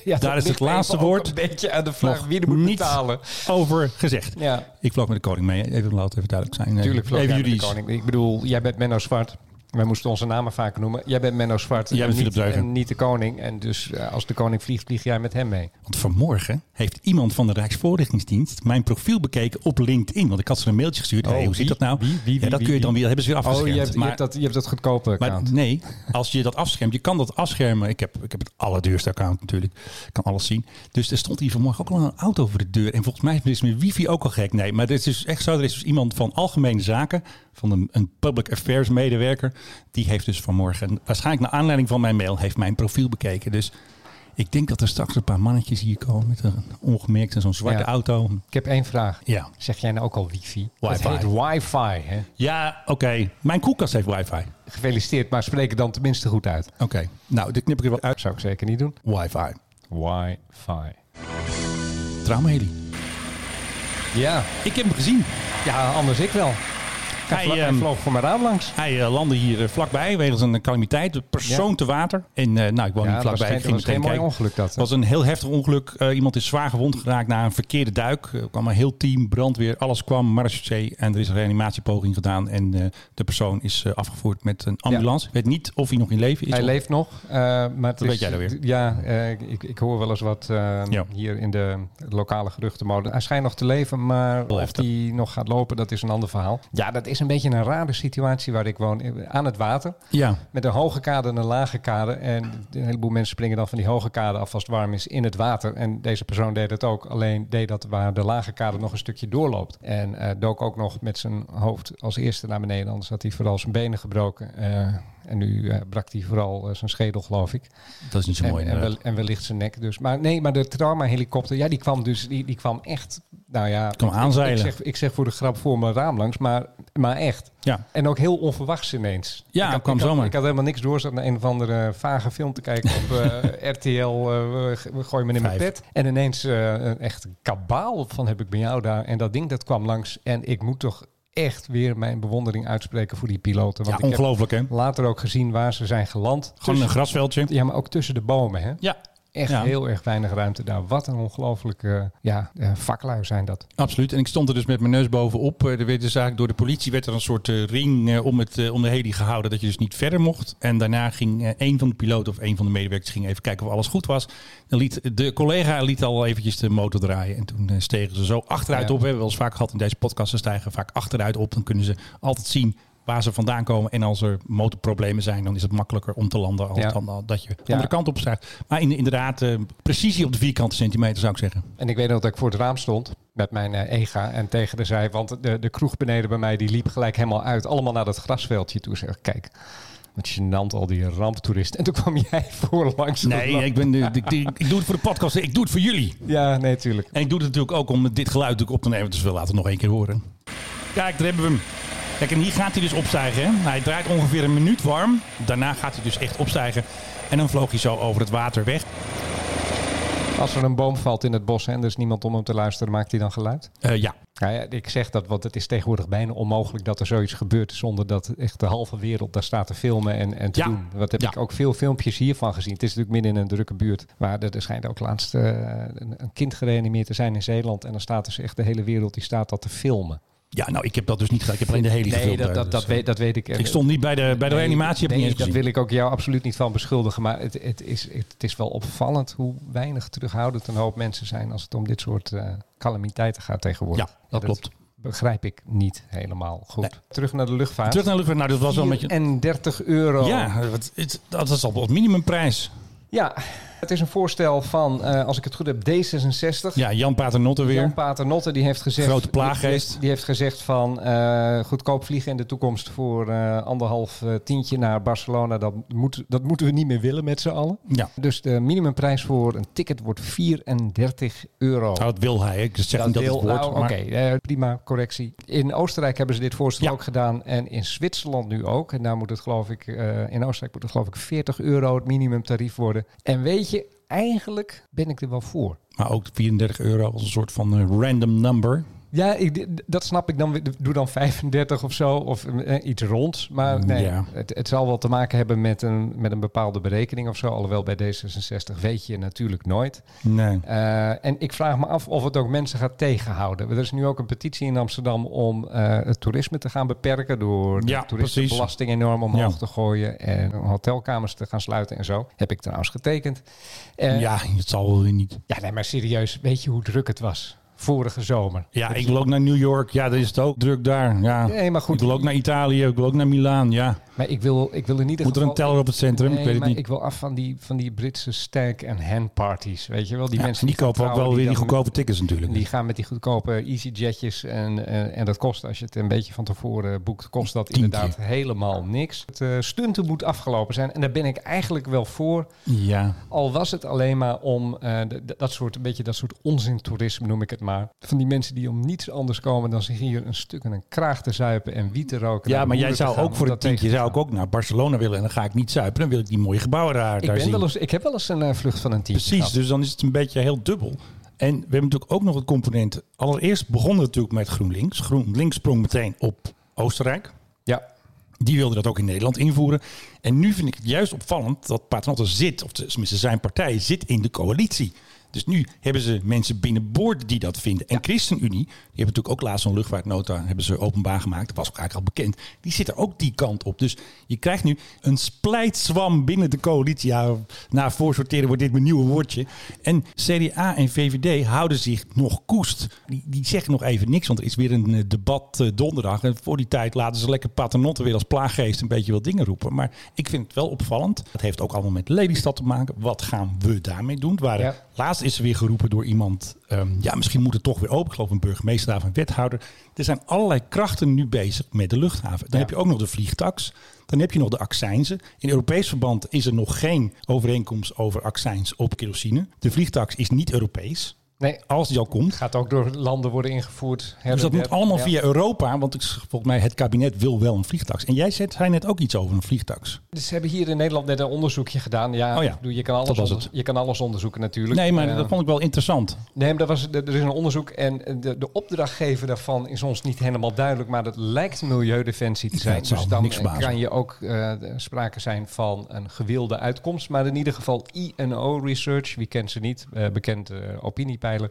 Ja,
Daar
dat
is het
ligt
laatste
even ook
woord
Een beetje aan de vraag
nog
wie er moet
niet
betalen.
over gezegd.
Ja.
Ik vloog met de koning mee. Even laat even duidelijk zijn.
Tuurlijk, Florian
even
de
juridisch.
Koning. Ik bedoel, jij bent Menno Zwart. Wij moesten onze namen vaak noemen. Jij bent Menno Zwart.
Jij
en
bent
niet,
Philip Dreugen.
en niet de koning. En dus eh, als de koning vliegt, vlieg jij met hem mee.
Want vanmorgen heeft iemand van de Rijksvoorlichtingsdienst mijn profiel bekeken op LinkedIn. Want ik had ze een mailtje gestuurd.
Oh,
hey, hoe
wie?
zit dat nou?
Wie? Wie? Wie?
ja, dat
Wie?
kun je dan
Wie?
weer. Dat hebben ze weer
Oh,
afgeschermd.
je hebt, je,
maar,
hebt dat, je hebt dat goedkope
maar
account.
nee, als je dat afschermt, je kan dat afschermen. Ik heb, ik heb het allerduurste account natuurlijk. Ik kan alles zien. Dus er stond hier vanmorgen ook al een auto voor de deur. En volgens mij is mijn wifi ook al gek. Nee, maar het is dus echt zo. Er is dus iemand van Algemene Zaken, van een, een public affairs medewerker. Die heeft dus vanmorgen, waarschijnlijk naar aanleiding van mijn mail, heeft mijn profiel bekeken. Dus ik denk dat er straks een paar mannetjes hier komen met een ongemerkt en zo'n zwarte
Ja.
auto.
Ik heb één vraag.
Ja.
Zeg jij nou ook al wifi?
Wifi.
Dat heet wifi. Hè?
Ja, oké. Mijn koelkast heeft wifi. Oké.
Gefeliciteerd, maar spreek het dan tenminste goed uit.
Nou, dit knip ik er wel uit.
Dat zou ik zeker niet doen.
Wifi.
Wifi.
Traumheli.
Ja,
Ik heb hem gezien.
ja anders ik wel. Hij,
Hij,
vlo- hij
ehm,
vloog voor mijn raam langs.
Hij eh, landde hier eh, vlakbij wegens een calamiteit. De persoon te water. En eh, nou, ik woon
Ja,
hier
het was
vlakbij.
geen-
Ik ging
het was
meteen
geen mooi
kijken.
ongeluk, dat,
Het
hè?
was een heel heftig ongeluk. Eh, iemand is zwaar gewond geraakt na een verkeerde duik. Er kwam een heel team, brandweer, alles kwam, marechaussee. En er is een reanimatiepoging gedaan. En eh, de persoon is eh, afgevoerd met een ambulance. Ik weet niet of hij nog in leven is.
Hij
of-
leeft nog, eh, maar het
Dat
is-
weet jij dan weer.
Ja, eh, ik, ik hoor wel eens wat eh,
Ja.
hier in de lokale geruchtenmolen. Hij schijnt nog te leven, maar
Wel
of
heftig.
hij nog gaat lopen, dat is een ander verhaal. Ja, dat is een beetje een rare situatie waar ik woon. eh, Aan het water,
Ja,
met een hoge kade en een lage kade. En een heleboel mensen springen dan van die hoge kade af als het warm is in het water. En deze persoon deed het ook, alleen deed dat waar de lage kade nog een stukje doorloopt. En eh, dook ook nog met zijn hoofd als eerste naar beneden, anders had hij vooral zijn benen gebroken. Eh, en nu eh, brak hij vooral eh, zijn schedel, geloof ik.
dat is niet zo
En,
mooi.
en,
inderdaad.
wel- en wellicht zijn nek dus. Maar nee, maar de trauma-helikopter, ja, die kwam dus, die, die kwam echt, nou ja...
Kwam
ik-
aanzeilen.
Ik zeg, ik zeg voor de grap voor mijn raam langs, maar, maar echt.
Ja.
En ook heel onverwachts ineens.
Ja,
ik had,
kwam
ik had-
zomaar.
Ik had helemaal niks door. Zat naar een of andere vage film te kijken op eh, RTL. eh, we g- we gooien me in mijn
Vijf.
pet. En ineens eh, een echt kabaal van heb ik bij jou daar. En dat ding dat kwam langs. En ik moet toch echt weer mijn bewondering uitspreken voor die piloten.
ja,
Want ik heb
ongelooflijk hè.
later ook gezien waar ze zijn geland.
Gewoon
Tussen-
een grasveldje.
ja, maar ook tussen de bomen. Hè?
Ja,
Echt
Ja.
heel erg weinig ruimte daar. Wat een ongelofelijke ja, eh, vaklui zijn dat.
Absoluut. En ik stond er dus met mijn neus bovenop. Eh, Er werd dus eigenlijk door de politie werd er een soort eh, ring eh, om, het, eh, om de heli gehouden dat je dus niet verder mocht. En daarna ging eh een van de piloten of een van de medewerkers ging even kijken of alles goed was. Dan liet, de collega liet al eventjes de motor draaien. En toen eh, stegen ze zo achteruit
Ja.
op. We hebben wel eens vaak gehad in deze podcast. Ze stijgen vaak achteruit op. Dan kunnen ze altijd zien waar ze vandaan komen. En als er motorproblemen zijn, dan is het makkelijker om te landen als
Ja.
dan al dat je de
Ja.
andere kant op stijgt. Maar in- inderdaad, eh, precisie op de vierkante centimeter zou ik zeggen.
En ik weet nog dat ik voor het raam stond met mijn eh, ega en tegen de zij. Want de, de kroeg beneden bij mij die liep gelijk helemaal uit. Allemaal naar dat grasveldje toe. Zeg, kijk, wat gênant al die ramptoeristen. En toen kwam jij voor langs. de
Nee,
lamp.
ik, ben, de- ik, ik, ik doe het voor de podcast. Ik doe het voor jullie.
Ja, nee, tuurlijk.
En ik doe het natuurlijk ook om dit geluid natuurlijk op te nemen. Dus we laten het nog één keer horen. Kijk, daar hebben we hem. Kijk, en hier gaat hij dus opstijgen. Hè? Hij draait ongeveer een minuut warm. Daarna gaat hij dus echt opstijgen. En dan vloog hij zo over het water weg.
Als er een boom valt in het bos hè, en er is niemand om hem te luisteren, maakt hij dan geluid?
Eh, ja,
Nou ja, ik zeg dat, want het is tegenwoordig bijna onmogelijk dat er zoiets gebeurt zonder dat echt de halve wereld daar staat te filmen en, en te
Ja.
doen. Wat heb
Ja.
ik ook veel filmpjes hiervan gezien. Het is natuurlijk midden in een drukke buurt, maar er, er schijnt ook laatst eh, een, een kind gereanimeerd te zijn in Zeeland en dan staat dus echt de hele wereld die staat dat te filmen.
Ja, nou, ik heb dat dus niet gedaan. Ik heb alleen de hele eh, dus.
Nee, dat, dat, dat, weet, dat weet ik. eh,
Ik stond niet bij de, bij de
Nee,
animatie, heb ik
nee,
niet eens
dat
gezien.
wil ik ook jou absoluut niet van beschuldigen. Maar het, het, is, het is wel opvallend hoe weinig terughoudend een hoop mensen zijn als het om dit soort eh, calamiteiten gaat tegenwoordig.
Ja, dat klopt.
Begrijp ik niet helemaal goed.
Nee.
Terug naar de luchtvaart.
Terug naar Luver. Nou, dat was wel een beetje...
34 euro.
Ja, wat- het- dat is al wat minimumprijs.
Ja, het is een voorstel van, eh, als ik het goed heb, D66.
Ja, Jan Paternotte weer.
Jan Paternotte die heeft gezegd...
Grote plaaggeest.
Die, die heeft gezegd van eh, goedkoop vliegen in de toekomst voor eh, anderhalf eh, tientje naar Barcelona. Dat, moet, dat moeten we niet meer willen met z'n allen.
Ja,
Dus de minimumprijs voor een ticket wordt 34 euro.
Nou, dat wil hij. Ik zeg niet dat
wil-
het woord,
nou, Oké,
maar-
eh, prima, correctie. In Oostenrijk hebben ze dit voorstel
Ja.
ook gedaan en in Zwitserland nu ook. En daar moet het geloof ik, eh, in Oostenrijk moet het geloof ik 40 euro het minimumtarief worden. En weet je, eigenlijk ben ik er wel voor.
Maar ook 34 euro als een soort van eh, random number.
Ja, ik, d- dat snap ik dan. weer. Doe dan 35 of zo, of eh, iets rond. Maar nee,
Mm, Ja.
het, het zal wel te maken hebben met een, met een bepaalde berekening of zo. Alhoewel bij D66 weet je natuurlijk nooit.
Nee.
Eh, en ik vraag me af of het ook mensen gaat tegenhouden. Er is nu ook een petitie in Amsterdam om eh, het toerisme te gaan beperken door de
Ja,
toeristenbelasting enorm omhoog
Ja.
te gooien en hotelkamers te gaan sluiten en zo. Heb ik trouwens getekend. Eh, ja.
Ja, het zal wel weer niet.
nee, maar serieus, weet je hoe druk het was vorige zomer?
Ja, ik wil ook naar New York. Ja, dat is het ook druk daar. Ja.
Nee, maar goed.
Ik wil ook naar Italië. Ik wil ook naar Milaan. Ja.
Maar ik wil, ik wil in ieder
Moet er
geval...
een teller op het centrum?
Nee,
ik weet het
maar
niet.
ik wil af van die, van die Britse stank- en handparties. Weet je wel, die
Ja,
mensen
en die
gaan
kopen ook
trouwen,
wel weer die
dan-
goedkope tickets natuurlijk.
Die gaan met die goedkope EasyJetjes en, eh, en dat kost, als je het een beetje van tevoren boekt, kost dat
Tientje.
inderdaad helemaal niks. Het eh, stunten moet afgelopen zijn en daar ben ik eigenlijk wel voor.
Ja.
Al was het alleen maar om eh, d- d- dat soort, een beetje dat soort onzintoerisme noem ik het maar. Van die mensen die om niets anders komen dan zich hier een stuk en een kraag te zuipen en wiet te roken.
Ja,
naar de
maar jij
moeder te
zou
gaan
ook
om
voor
dat
het
tegen
tientje
te
zou ik
gaan.
ook naar Barcelona willen. En dan ga ik niet zuipen. Dan wil ik die mooie gebouwen daar,
Ik,
daar
ben
zien.
wel eens, ik heb wel eens een eh, vlucht van een tientje
Precies,
gehad.
dus dan is het een beetje heel dubbel. En we hebben natuurlijk ook nog het component. Allereerst begonnen we natuurlijk met GroenLinks. GroenLinks sprong meteen op Oostenrijk.
Ja,
Die wilden dat ook in Nederland invoeren. En nu vind ik het juist opvallend dat Paternotte zit, of tenminste zijn partij zit in de coalitie. Dus nu hebben ze mensen binnenboord die dat vinden. En ChristenUnie, die hebben natuurlijk ook laatst zo'n luchtvaartnota hebben ze openbaar gemaakt. Dat was ook eigenlijk al bekend. Die zitten ook die kant op. Dus je krijgt nu een splijtswam binnen de coalitie. Ja, na voorsorteren wordt dit mijn nieuwe woordje. En CDA en VVD houden zich nog koest. Die, die zeggen nog even niks, want er is weer een eh, debat eh, donderdag. En voor die tijd laten ze lekker paternotten weer als plaaggeest een beetje wat dingen roepen. Maar ik vind het wel opvallend. Het heeft ook allemaal met Lelystad te maken. Wat gaan we daarmee doen? Waar,
Ja.
Laatst is er weer geroepen door iemand. ehm, ja, misschien moet het toch weer open. Ik geloof een burgemeester of een wethouder. Er zijn allerlei krachten nu bezig met de luchthaven. Dan
Ja.
heb je ook nog de vliegtax. Dan heb je nog de accijnzen. In Europees verband is er nog geen overeenkomst over accijns op kerosine. De vliegtax is niet Europees.
nee, oh,
Als die al komt.
gaat ook door landen worden ingevoerd. her
Dus dat
en
moet
der.
allemaal
Ja.
via Europa. Want ik, volgens mij het kabinet wil wel een vliegtax. En jij zei zei net ook iets over een vliegtax.
Dus ze hebben hier in Nederland net een onderzoekje gedaan. Ja,
Oh ja,
ik bedoel, je, kan alles
dat was
onder-
het.
je kan alles onderzoeken natuurlijk.
Nee, maar
Eh,
dat vond ik wel interessant.
nee, maar dat was, er is een onderzoek en de, de opdrachtgever daarvan is ons niet helemaal duidelijk. Maar dat lijkt milieudefensie te
Ja,
zijn.
het zou
dus
me
dan
niks verbazen.
kan je ook eh, sprake zijn van een gewilde uitkomst. Maar in ieder geval INO Research, wie kent ze niet, eh, bekend eh, opiniepeiler.
Ja,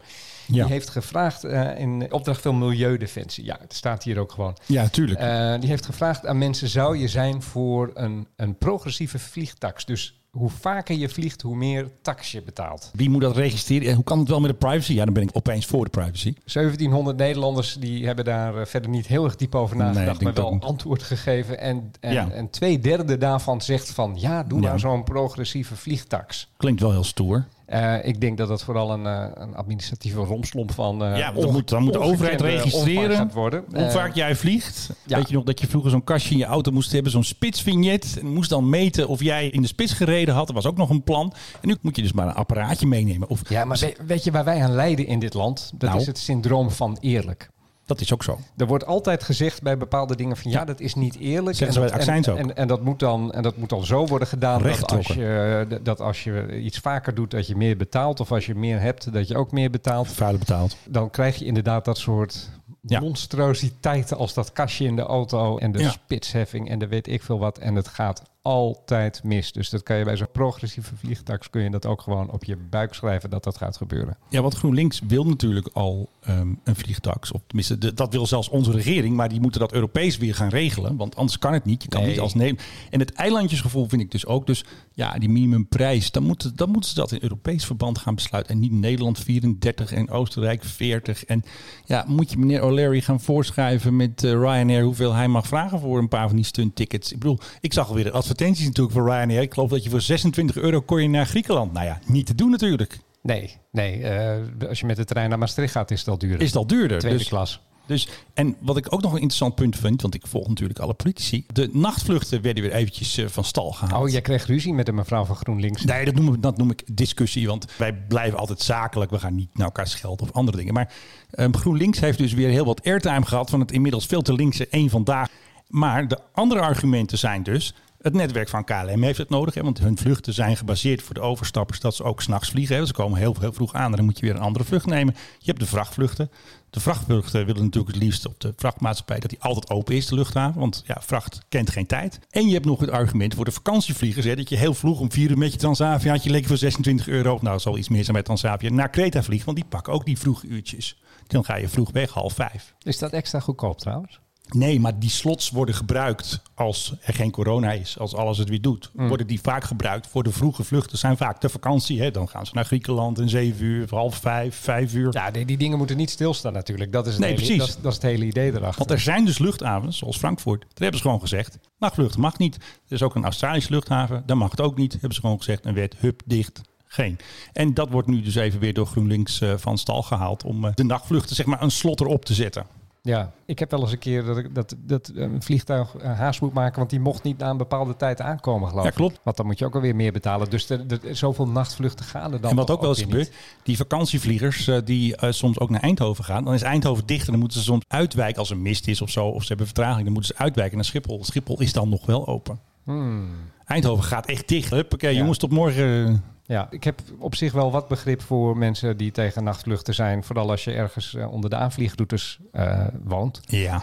Die heeft gevraagd eh, in opdracht van milieudefensie. Ja, het staat hier ook gewoon.
ja tuurlijk.
Eh, die heeft gevraagd aan mensen: zou je zijn voor een, een progressieve vliegtax? Dus hoe vaker je vliegt, hoe meer tax je betaalt.
Wie moet dat registreren? En hoe kan het wel met de privacy? Ja, dan ben ik opeens voor de privacy.
1700 Nederlanders die hebben daar eh, verder niet heel erg diep over
Nee,
nagedacht,
ik denk
maar
dat
wel
niet.
antwoord gegeven. En, en,
Ja.
en twee derde daarvan zegt van ja, doe
Ja.
maar zo'n progressieve vliegtax.
Klinkt wel heel stoer.
Eh, ik denk dat dat vooral een, eh, een administratieve romslomp van. eh,
Ja, want dan
onge-
moet- dan moet de overheid
ongekende omvang
registreren.
Gaat worden.
Hoe
Eh,
vaak jij vliegt?
ja.
Weet je nog dat je vroeger zo'n kastje in je auto moest hebben, zo'n spitsvignet. En moest dan meten of jij in de spits gereden had. Dat was ook nog een plan. En nu moet je dus maar een apparaatje meenemen. Of, dus
Ja, maar we- weet je waar wij aan lijden in dit land? Dat
Nou.
is het syndroom van eerlijk.
Dat is ook zo.
Er wordt altijd gezegd bij bepaalde dingen van ja, dat is niet eerlijk.
Zeggen ze
En
bij
dat-
de accijns
en,
ook.
En, en, dat moet dan, en dat moet dan zo worden gedaan dat als,
Rechtgetrokken.
je, eh, d- dat als je iets vaker doet dat je meer betaalt. Of als je meer hebt dat je ook meer betaalt.
Vuile betaald.
Dan krijg je inderdaad dat soort
Ja.
monstrositeiten als dat kastje in de auto en de
Ja.
spitsheffing en de weet ik veel wat. En het gaat altijd mis. Dus dat kan je bij zo'n progressieve vliegtuig kun je dat ook gewoon op je buik schrijven dat dat gaat gebeuren.
Ja, want GroenLinks wil natuurlijk al ehm, een vliegtax. Of tenminste, de- dat wil zelfs onze regering. Maar die moeten dat Europees weer gaan regelen. Want anders kan het niet. Je kan
Nee.
niet als Nederland. En het eilandjesgevoel vind ik dus ook. Dus ja, die minimumprijs. Dan moeten, dan moeten ze dat in Europees verband gaan besluiten. En niet Nederland 34 en Oostenrijk 40. En ja, moet je meneer O'Leary gaan voorschrijven met eh, Ryanair. hoeveel hij mag vragen voor een paar van die stunttickets. Ik bedoel, ik zag alweer de advertenties natuurlijk voor Ryanair. Ik geloof dat je voor 26 euro kon je naar Griekenland. Nou ja, niet te doen natuurlijk.
Nee, nee. eh, als je met de trein naar Maastricht gaat, is het al duurder.
Is dat duurder?
Tweede
Dus-
klas.
Dus, en wat ik ook nog een interessant punt vind, want ik volg natuurlijk alle politici. De nachtvluchten werden weer eventjes eh, van stal gehaald.
Oh, jij kreeg ruzie met een mevrouw van GroenLinks.
Nee, dat noem, ik, dat noem ik discussie, want wij blijven altijd zakelijk. We gaan niet naar elkaar schelden of andere dingen. Maar ehm, GroenLinks heeft dus weer heel wat airtime gehad van het inmiddels veel te linkse één vandaag. Maar de andere argumenten zijn dus, het netwerk van KLM heeft het nodig. Hè, want hun vluchten zijn gebaseerd voor de overstappers dat ze ook s'nachts vliegen. Hè. Ze komen heel, heel vroeg aan en dan moet je weer een andere vlucht nemen. Je hebt de vrachtvluchten. De vrachtvluchten willen natuurlijk het liefst op de vrachtmaatschappij dat die altijd open is, de luchthaven. Want ja, vracht kent geen tijd. En je hebt nog het argument voor de vakantievliegers. Hè, dat je heel vroeg om vier uur met je Transavia, je lekker voor 26 euro, nou het zal iets meer zijn met Transavia, naar Kreta vliegen. Want die pakken ook die vroege uurtjes. Dan ga je vroeg weg, half vijf.
Is dat extra goedkoop trouwens?
Nee, maar die slots worden gebruikt als er geen corona is, als alles het weer doet. Worden die vaak gebruikt voor de vroege vluchten, zijn vaak de vakantie. Hè? Dan gaan ze naar Griekenland in zeven uur, half vijf, vijf uur.
Ja, die, die dingen moeten niet stilstaan natuurlijk. Dat is het,
Nee,
hele,
precies.
Dat is, dat is het hele idee erachter.
Want er zijn dus luchthavens, zoals Frankfurt, daar hebben ze gewoon gezegd, nachtvluchten mag niet. Er is ook een Australische luchthaven, daar mag het ook niet. Hebben ze gewoon gezegd, een wet, hup, dicht, geen. En dat wordt nu dus even weer door GroenLinks eh, van stal gehaald om eh, de nachtvluchten zeg maar een slot erop te zetten.
Ja, ik heb wel eens een keer dat, ik, dat, dat een vliegtuig eh, haast moet maken, want die mocht niet na een bepaalde tijd aankomen, geloof
Ja,
ik.
klopt.
Want dan moet je ook alweer meer betalen. Dus er, er- zoveel nachtvluchten gaan er dan.
En wat
toch
ook wel eens
weer
gebeurt, die vakantievliegers eh, die eh, soms ook naar Eindhoven gaan, dan is Eindhoven dicht en dan moeten ze soms uitwijken als er mist is of zo, of ze hebben vertraging, dan moeten ze uitwijken naar Schiphol. Schiphol is dan nog wel open.
niet. Hmm.
Eindhoven gaat echt dicht. Huppakee,
Ja.
jongens, tot morgen.
Ja, ik heb op zich wel wat begrip voor mensen die tegen nachtvluchten zijn. Vooral als je ergens eh, onder de aanvliegroutes eh, woont.
Ja.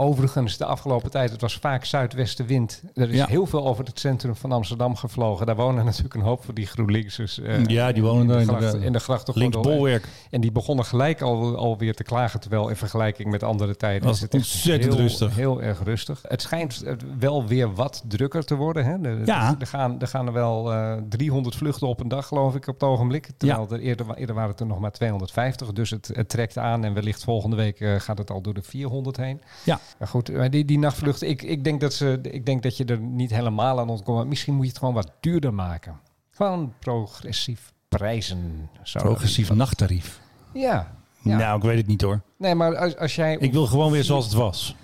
Overigens, de afgelopen tijd, het was vaak zuidwestenwind. Er is
Ja.
heel veel over het centrum van Amsterdam gevlogen. Daar wonen natuurlijk een hoop van die GroenLinksers. eh,
Ja, die wonen
in
daar
de, gracht,
inderdaad.
in de grachtengordel.
Links bolwerk.
En die begonnen gelijk al, alweer te klagen. Terwijl in vergelijking met andere tijden
Was
is het echt
Oh, ontzettend
heel,
rustig.
heel erg rustig. Het schijnt eh, wel weer wat drukker te worden. Hè? De-
Ja.
Er, gaan, er gaan er wel eh, 300 vluchten op een dag, geloof ik, op het ogenblik. Terwijl er eerder, wa- eerder waren het er nog maar 250. Dus het, het trekt aan en wellicht volgende week eh, gaat het al door de 400 heen.
Ja.
Maar goed, maar die, die nachtvluchten, ik, ik, denk dat ze, ik denk dat je er niet helemaal aan ontkomt. Maar misschien moet je het gewoon wat duurder maken. Gewoon progressief prijzen. zou dat
Progressief nachttarief.
ja. ja.
Nou, ik weet het niet hoor.
Nee, maar als, als jij...
Ik wil gewoon weer zoals het was.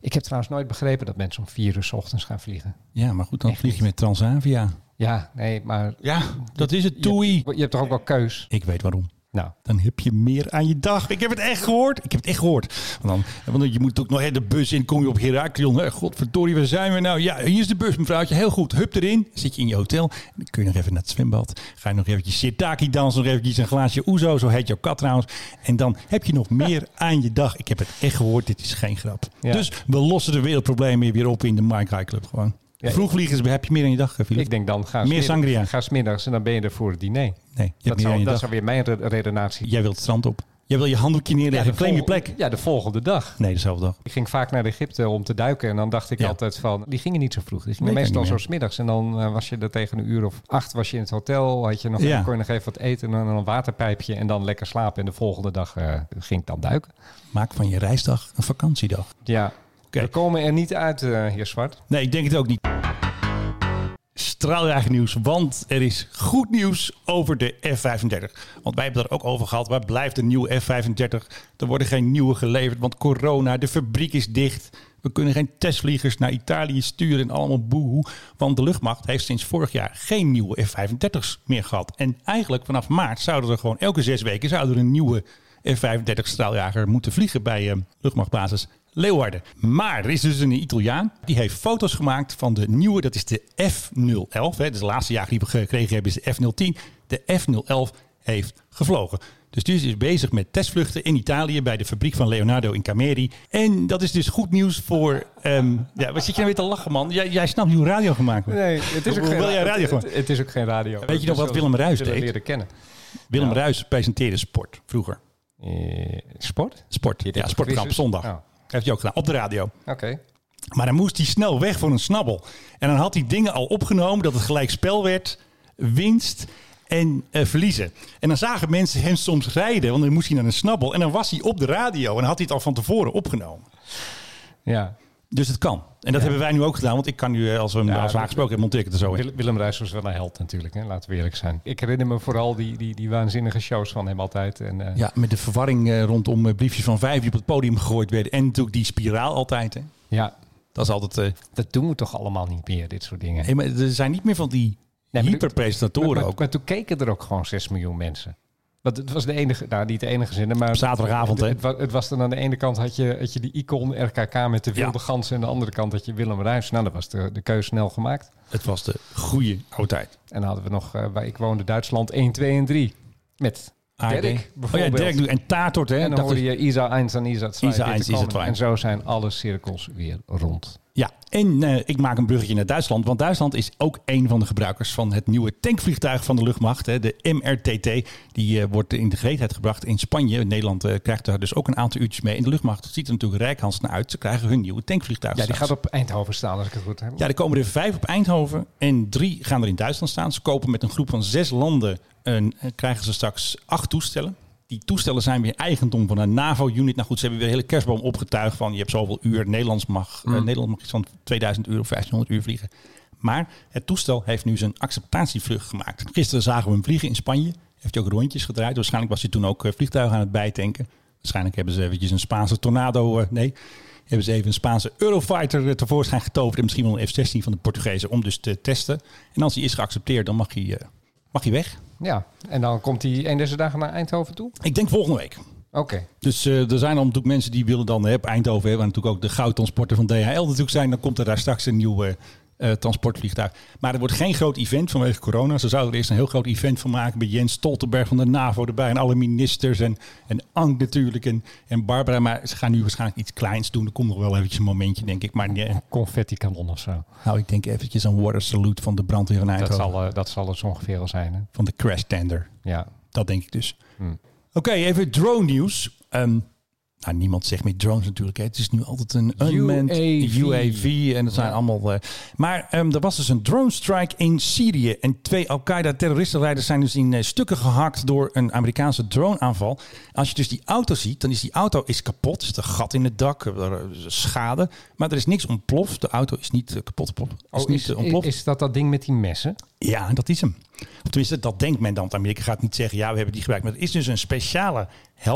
Ik heb trouwens nooit begrepen dat mensen om vier uur 's ochtends gaan vliegen.
Ja, maar goed, dan
Echt
vlieg je
niet.
met Transavia.
Ja, nee, maar
Ja, dat is het.
je
Toei.
hebt toch ook wel keus?
Ik weet waarom.
Nou,
Dan heb je meer aan je dag. Ik heb het echt gehoord. Ik heb het echt gehoord. Want, dan, want je moet ook nog hè, de bus in. Kom je op Heraklion. Hè, Godverdorie, waar zijn we nou? Ja, hier is de bus, mevrouwtje. Heel goed. Hup erin. Zit je in je hotel. Dan kun je nog even naar het zwembad. Ga je nog eventjes sirtaki dansen. Nog eventjes een glaasje oezo. Zo heet jouw kat trouwens. En dan heb je nog meer aan je dag. Ik heb het echt gehoord. Dit is geen grap.
Ja.
Dus we lossen de wereldproblemen weer op in de Mike High Club gewoon.
Ja,
Vroegvliegers heb je meer aan je dag, eh, Filip?
ik denk dan ga
Meer sangria.
Ga smiddags en dan ben je er voor het diner.
nee, je hebt
Dat
meer aan
zou,
je
dat
dag.
zou weer mijn re- redenatie.
Jij wilt het strand op. Jij wil je handdoekje neerleggen.
de
claim je
volgende-
plek.
Ja, de volgende dag.
Nee, dezelfde dag.
Ik ging vaak naar Egypte om te duiken. En dan dacht ik
Ja.
altijd van, die gingen niet zo vroeg. Die gingen
Nee, kan
meestal
niet
zo
meer.
smiddags. En dan eh, was je er tegen een uur of acht was je in het hotel. Had je nog,
Ja.
kon je nog even wat eten en een waterpijpje. En dan lekker slapen. En de volgende dag eh, ging ik dan duiken.
Maak van je reisdag een vakantiedag.
Ja,
Oké.
we komen er niet uit, eh, heer Zwart.
Nee, ik denk het ook niet. Straaljager nieuws, want er is goed nieuws over de F-35. Want wij hebben daar ook over gehad. Waar blijft de nieuwe F-35? Er worden geen nieuwe geleverd, want corona, de fabriek is dicht. We kunnen geen testvliegers naar Italië sturen en allemaal boehoe. Want de luchtmacht heeft sinds vorig jaar geen nieuwe F-35's meer gehad. En eigenlijk vanaf maart zouden er gewoon elke zes weken zouden er een nieuwe F-35 straaljager moeten vliegen bij eh, luchtmachtbasis Leeuwarden. Maar er is dus een Italiaan die heeft foto's gemaakt van de nieuwe, dat is de F011. Hè, dus de laatste jager die we gekregen hebben is de F010. De F011 heeft gevlogen. Dus die is dus bezig met testvluchten in Italië bij de fabriek van Leonardo in Cameri. En dat is dus goed nieuws voor... ehm, ja, wat zit je nou weer te lachen, man? Jij, jij snapt hoe radio gemaakt wordt.
Nee, het is ook
Hoe
geen
wil jij radio
het,
gewoon?
het, het is ook geen radio.
Weet je nog wat Willem Ruijs deed?
leren kennen.
Willem Ruijs presenteerde sport vroeger.
Eh, sport?
Sport. Ja, sportprogramma op
quizzes?
zondag.
Oh.
Heeft hij ook gedaan, op de radio.
Oké.
Maar dan moest hij snel weg voor een snabbel. En dan had hij dingen al opgenomen dat het gelijk spel werd, winst en eh, verliezen. En dan zagen mensen hem soms rijden, want dan moest hij naar een snabbel. En dan was hij op de radio en dan had hij het al van tevoren opgenomen.
Ja.
Dus het kan. En dat hebben wij nu ook gedaan, want ik kan nu, eh, als we hem
Ja,
als we
dat-
aangesproken hebben, monteer ik het er zo in.
Willem, Willem Ruijs was wel een held natuurlijk, hè? laten we eerlijk zijn. Ik herinner me vooral die, die, die waanzinnige shows van hem altijd. En, eh,
Ja, met de verwarring eh, rondom eh, briefjes van vijf die op het podium gegooid werden. En natuurlijk die spiraal altijd. Hè.
ja,
Dat is altijd... eh,
dat doen we toch allemaal niet meer, dit soort dingen.
hey, maar er zijn niet meer van die
maar dit-
hyperpresentatoren
maar, maar-
ook.
maar toen keken er ook gewoon 6 miljoen mensen. Want het was de enige, nou niet de enige zin, maar...
Op zaterdagavond, hè?
Het, wa- het was dan aan de ene kant had je, had je die icon RKK met de wilde
Ja.
ganzen... en aan de andere kant had je Willem Ruijs. Nou, dan was de, de keuze snel gemaakt.
Het was de goede oude tijd.
En dan hadden we nog, eh, waar ik woonde, Duitsland 1, 2 en 3. Met
ARD.
Dirk
Oh ja,
bijvoorbeeld.
Dirk doet- en Taartort. Hè?
en dan
dat
hoorde
is-
je Isa 1 en Isa 2.
Isa 1, Isa 2.
En zo zijn alle cirkels weer rond.
Ja, en eh, ik maak een bruggetje naar Duitsland. Want Duitsland is ook een van de gebruikers van het nieuwe tankvliegtuig van de luchtmacht. Hè, de MRTT. Die eh, wordt in de gereedheid gebracht in Spanje. Nederland eh, krijgt daar dus ook een aantal uurtjes mee. En de luchtmacht ziet er natuurlijk rijkhans naar uit. Ze krijgen hun nieuwe tankvliegtuig.
Ja, die
straks.
gaat op Eindhoven staan, als ik het goed heb.
Ja, er komen er vijf op Eindhoven en drie gaan er in Duitsland staan. Ze kopen met een groep van zes landen een, eh, krijgen ze straks acht toestellen. Die toestellen zijn weer eigendom van een NAVO-unit. Nou goed, ze hebben weer een hele kerstboom opgetuigd van je hebt zoveel uur. Nederlands mag, eh, Nederland mag iets van 2000 uur of 1500 uur vliegen. Maar het toestel heeft nu zijn acceptatievlucht gemaakt. Gisteren zagen we hem vliegen in Spanje. Heeft hij ook rondjes gedraaid. Waarschijnlijk was hij toen ook eh, vliegtuigen aan het bijtanken. Waarschijnlijk hebben ze eventjes een Spaanse tornado... eh, nee, hebben ze even een Spaanse Eurofighter eh, tevoorschijn getoverd. En misschien wel een F-16 van de Portugezen om dus te testen. En als die is geaccepteerd, dan mag hij, eh, mag hij weg.
Ja, en dan komt hij een deze dagen naar Eindhoven toe?
Ik denk volgende week.
Oké.
Dus eh, er zijn al natuurlijk mensen die willen dan hè, op Eindhoven hebben. En natuurlijk ook de goudtransporter van DHL natuurlijk zijn. Dan komt er daar straks een nieuw eh, eh, transportvliegtuig. Maar er wordt geen groot event vanwege corona. Ze zouden er eerst een heel groot event van maken. Met Jens Stoltenberg van de NAVO erbij. En alle ministers. En, en Ank natuurlijk. En, en Barbara. Maar ze gaan nu waarschijnlijk iets kleins doen. Er komt nog wel eventjes een momentje, denk ik. Maar eh, nee,
Confetti kanon of zo.
hou Nou, ik denk eventjes een water salute van de brandweer van
Dat
Eindhoven.
zal, eh, dat zal het zo ongeveer al zijn. Hè?
Van de crash tender.
Ja.
Dat denk ik dus.
Hmm.
Oké, even drone nieuws. Ehm, nou, niemand zegt meer drones natuurlijk. Hè. Het is nu altijd een unmanned
UAV.
UAV. en dat zijn allemaal... eh, maar ehm, er was dus een drone strike in Syrië. En twee Al-Qaeda-terroristenleiders zijn dus in eh, stukken gehakt door een Amerikaanse droneaanval. Als je dus die auto ziet, dan is die auto is kapot. Er zit een gat in het dak, er is schade. Maar er is niks ontploft. De auto is niet eh, kapot ontploft. Is niet eh, ontploft.
Oh, is dat dat ding met die messen?
Ja, dat is hem. Of tenminste, dat denkt men dan. Want Amerika gaat niet zeggen, ja, we hebben die gebruikt. Maar er is dus een speciale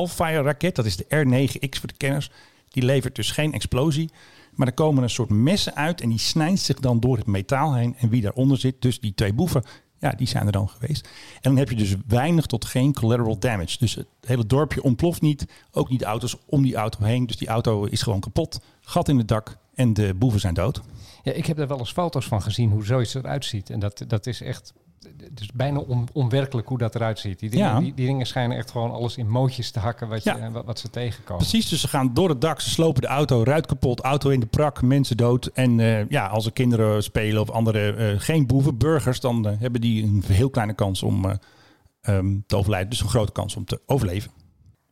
Hellfire-raket. Dat is de R9X voor de kenners. Die levert dus geen explosie. Maar er komen een soort messen uit en die snijdt zich dan door het metaal heen. En wie daaronder zit, dus die twee boeven, ja, die zijn er dan geweest. En dan heb je dus weinig tot geen collateral damage. Dus het hele dorpje ontploft niet. Ook niet de auto's om die auto heen. Dus die auto is gewoon kapot. Gat in het dak en de boeven zijn dood.
Ja, ik heb daar wel eens foto's van gezien hoe zoiets eruit ziet. En dat, dat is echt. Het is bijna on- onwerkelijk hoe dat eruit ziet. Die dingen,
Ja.
die, die dingen schijnen echt gewoon alles in mootjes te hakken wat, je, eh,
Ja.
wat, wat ze tegenkomen.
Precies, dus ze gaan door het dak, ze slopen de auto, ruit kapot, auto in de prak, mensen dood. En eh, ja, als er kinderen spelen of andere, eh, geen boeven, burgers, dan eh, hebben die een heel kleine kans om eh, ehm, te overlijden. Dus een grote kans om te overleven.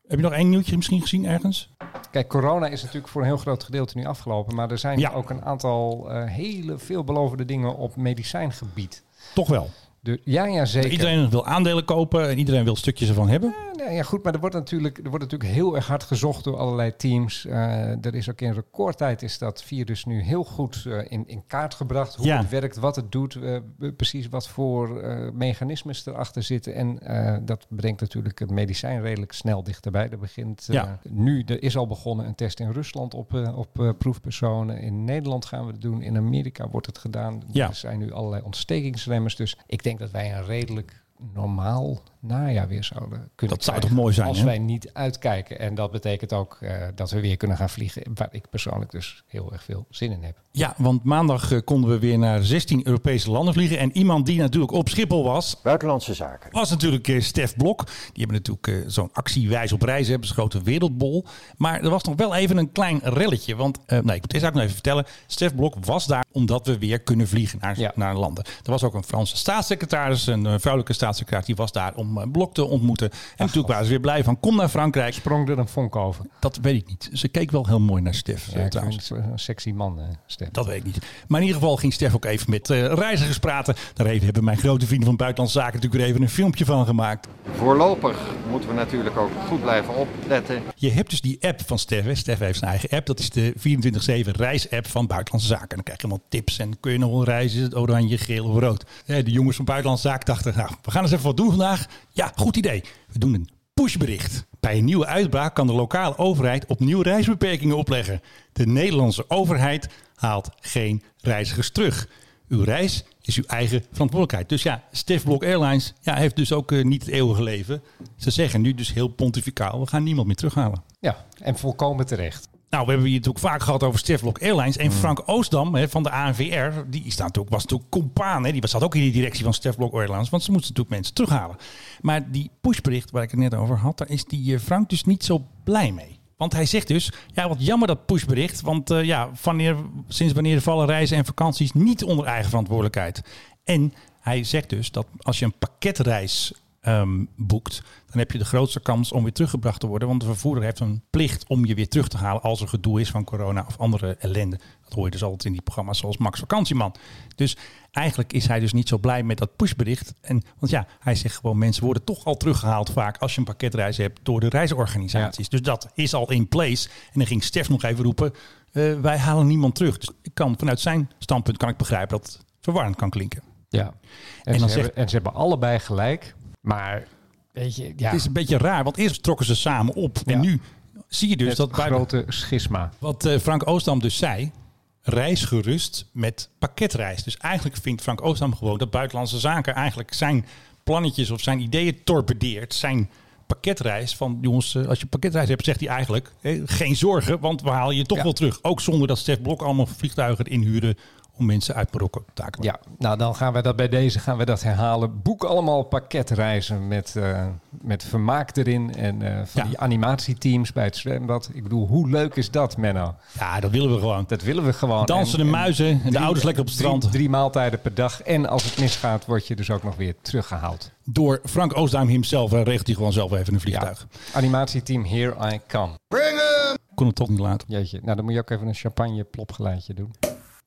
Heb je nog één nieuwtje misschien gezien ergens?
Kijk, corona is natuurlijk voor een heel groot gedeelte nu afgelopen. Maar er zijn
Ja.
ook een aantal eh, hele veelbelovende dingen op medicijngebied.
Toch wel.
De, ja, ja, zeker.
Eh, Iedereen wil aandelen kopen en iedereen wil stukjes ervan hebben.
Nou ja, goed, maar er wordt natuurlijk, er wordt natuurlijk heel erg hard gezocht door allerlei teams. Eh, er is ook in recordtijd is dat virus nu heel goed eh, in, in kaart gebracht. Hoe
Ja.
het werkt, wat het doet, eh, b- precies wat voor eh mechanismes erachter zitten. En eh, dat brengt natuurlijk het medicijn redelijk snel dichterbij. Er begint eh,
Ja.
nu, er is al begonnen een test in Rusland op, eh, op eh, proefpersonen. In Nederland gaan we het doen, in Amerika wordt het gedaan.
Ja.
Er zijn nu allerlei ontstekingsremmers. Dus ik denk dat wij een redelijk normaal najaar weer zouden kunnen
Dat zou
krijgen.
toch mooi zijn,
Als
hè?
wij niet uitkijken. En dat betekent ook eh, dat we weer kunnen gaan vliegen. Waar ik persoonlijk dus heel erg veel zin in heb.
Ja, want maandag eh, konden we weer naar 16 Europese landen vliegen. En iemand die natuurlijk op Schiphol was,
Buitenlandse zaken.
was natuurlijk eh, Stef Blok. Die hebben natuurlijk eh, zo'n actie Wijs op Reis, hebben ze grote wereldbol. Maar er was nog wel even een klein relletje. Want, eh, nee, ik moet eerst eigenlijk nog even vertellen. Stef Blok was daar omdat we weer kunnen vliegen naar,
Ja.
naar landen. Er was ook een Franse staatssecretaris, een eh, vrouwelijke staatssecretaris. Die was daar om eh, Blok te ontmoeten. En natuurlijk waren ze weer blij van, kom naar Frankrijk.
Sprong er een vonk over.
Dat weet ik niet. Ze keek wel heel mooi naar Stef eh,
Ja, ik
trouwens.
vind het een sexy man, eh, Stef.
Dat weet ik niet. Maar in ieder geval ging Stef ook even met eh, reizigers praten. Daar even hebben mijn grote vrienden van Buitenlandse Zaken natuurlijk weer even een filmpje van gemaakt.
Voorlopig moeten we natuurlijk ook goed blijven opletten.
Je hebt dus die app van Stef. hè. Stef heeft zijn eigen app. Dat is de 24-7 reisapp van Buitenlandse Zaken. En dan krijg je allemaal tips. En kun je nog wel reizen? Is het oranje, geel of rood? Hè, de jongens van Buitenlandse Zaken dachten, nou, we gaan eens even wat doen vandaag. Ja, goed idee. We doen een pushbericht. Bij een nieuwe uitbraak kan de lokale overheid opnieuw reisbeperkingen opleggen. De Nederlandse overheid haalt geen reizigers terug. Uw reis is uw eigen verantwoordelijkheid. Dus ja, Stef Blok Airlines ja, heeft dus ook eh, niet het eeuwige leven. Ze zeggen nu dus heel pontificaal, we gaan niemand meer terughalen.
Ja, en volkomen terecht.
Nou, we hebben hier natuurlijk vaak gehad over Steflok Airlines. En Frank Oostdam hè, van de ANVR, die staat ook, was natuurlijk compaan. Hè, die zat ook in die directie van Steflok Airlines. Want ze moesten natuurlijk mensen terughalen. Maar die pushbericht waar ik het net over had, daar is die eh, Frank dus niet zo blij mee. Want hij zegt dus, ja wat jammer dat pushbericht. Want eh, ja, wanneer, sinds wanneer vallen reizen en vakanties niet onder eigen verantwoordelijkheid? En hij zegt dus dat als je een pakketreis ehm, boekt, dan heb je de grootste kans om weer teruggebracht te worden. Want de vervoerder heeft een plicht om je weer terug te halen als er gedoe is van corona of andere ellende. Dat hoor je dus altijd in die programma's zoals Max Vakantieman. Dus eigenlijk is hij dus niet zo blij met dat pushbericht. En, want ja, hij zegt gewoon mensen worden toch al teruggehaald vaak als je een pakketreis hebt door de reisorganisaties. Dus dat is al in place. En dan ging Stef nog even roepen, eh, wij halen niemand terug. Dus ik kan, vanuit zijn standpunt kan ik begrijpen dat het verwarrend kan klinken.
Ja. En, ze
dan zegt-
hebben, en ze hebben allebei gelijk. Maar, weet je, ja,
Het is een beetje raar, want eerst trokken ze samen op. En
Ja.
nu zie je dus
het
dat bij
grote schisma.
wat eh, Frank Oostdam dus zei. Reis gerust met pakketreis. Dus eigenlijk vindt Frank Oostdam gewoon dat buitenlandse zaken eigenlijk zijn plannetjes of zijn ideeën torpedeert. Zijn pakketreis van jongens, eh, als je pakketreis hebt, zegt hij eigenlijk eh, geen zorgen, want we halen je toch
Ja.
wel terug. Ook zonder dat Stef Blok allemaal vliegtuigen inhuurde om mensen uit Marokko te takelen.
Ja, nou dan gaan we dat bij deze gaan we dat herhalen. Boek allemaal pakketreizen met, eh, met vermaak erin en eh, van
Ja.
die animatieteams bij het zwembad. Ik bedoel, hoe leuk is dat, Menno?
Ja, dat willen we gewoon.
Dat willen we gewoon.
Dansende
En- en
muizen en de
drie-
ouders lekker op het strand.
Drie, drie maaltijden per dag. En als het misgaat, word je dus ook nog weer teruggehaald.
Door Frank Oostdam hemzelf eh, regelt hij gewoon zelf even een vliegtuig.
Animatieteam Here I Come.
Kon het toch niet laten.
Jeetje, nou dan moet je ook even een champagne plopgeluidje doen.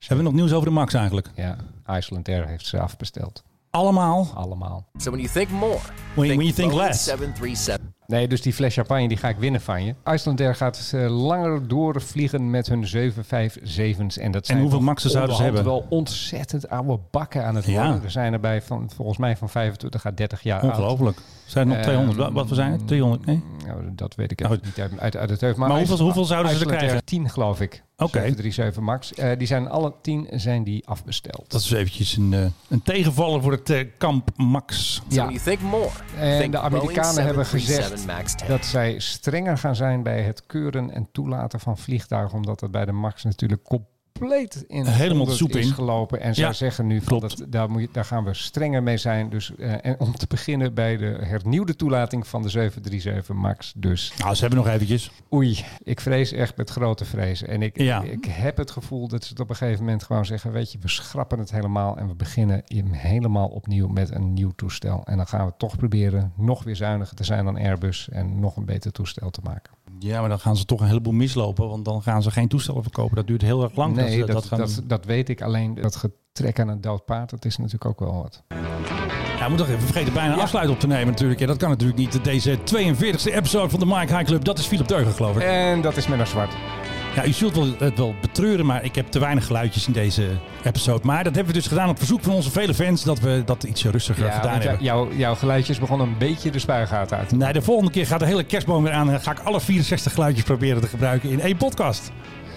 Hebben we nog nieuws over de Max eigenlijk?
Ja, Iceland Air heeft ze afbesteld.
Allemaal.
Allemaal.
So when you think more,
When you- when you think
Boeing
less.
737.
Nee, dus die fles champagne die ga ik winnen van je. Icelandair gaat eh, langer doorvliegen met hun 757's. En, dat zijn
hoeveel
toch
Max'en zouden
onderhand
ze hebben?
wel ontzettend oude bakken aan het
Ja.
worden. Er zijn erbij van, volgens mij van 25 à 30 jaar oud.
Ongelooflijk. Zijn er
Ehm,
nog 200? Wa- Wat we zijn? er? 200? Nee.
Nou, dat weet ik
Nou,
even niet uit, uit, uit het hoofd.
Maar
IJs-
hoeveel- hoeveel zouden ze er
IJslandair
krijgen?
10 geloof ik.
Oké.
737 Max. Eh, die zijn alle 10 zijn die afbesteld.
Dat is eventjes een, eh, een tegenvaller voor het eh, kamp Max.
So when you think more,
En
think
de Amerikanen
Boeing
hebben
737
gezegd
Max 10.
dat zij strenger gaan zijn bij het keuren en toelaten van vliegtuigen. Omdat dat bij de MAX natuurlijk compleet in
Helemaal
onder
de soep
is
in.
gelopen. En zij
Ja,
zeggen nu, van
klopt.
dat, daar, moet je, daar gaan we strenger mee zijn. Dus, eh, en om te beginnen bij de hernieuwde toelating van de 737 MAX. Dus
Nou, ze hebben nog eventjes.
oei, ik vrees echt met grote vrees. En ik,
Ja.
ik heb het gevoel dat ze het op een gegeven moment gewoon zeggen... weet je, we schrappen het helemaal en we beginnen hem helemaal opnieuw met een nieuw toestel. En dan gaan we toch proberen nog weer zuiniger te zijn dan Airbus... en nog een beter toestel te maken.
Ja, maar dan gaan ze toch een heleboel mislopen. Want dan gaan ze geen toestellen verkopen. Dat duurt heel erg lang.
nee,
ze
dat, dat,
gaan
dat,
doen.
weet ik. Alleen dat getrek aan een dood paard, dat is natuurlijk ook wel wat.
Ja, ik moet toch even vergeten bijna een afsluit op te nemen natuurlijk. Ja, dat kan natuurlijk niet. Deze 42e episode van de Mike High Club. Dat is Philip Deugen, geloof ik.
En dat is Menno Zwart.
Ja, u zult wel, het wel betreuren, maar ik heb te weinig geluidjes in deze episode. Maar dat hebben we dus gedaan op verzoek van onze vele fans, dat we dat iets rustiger
Ja,
gedaan
want jou-
hebben.
jouw, jouw geluidjes begonnen een beetje de spuigaten uit.
Nee, de volgende keer gaat de hele kerstboom weer aan en ga ik alle 64 geluidjes proberen te gebruiken in één podcast.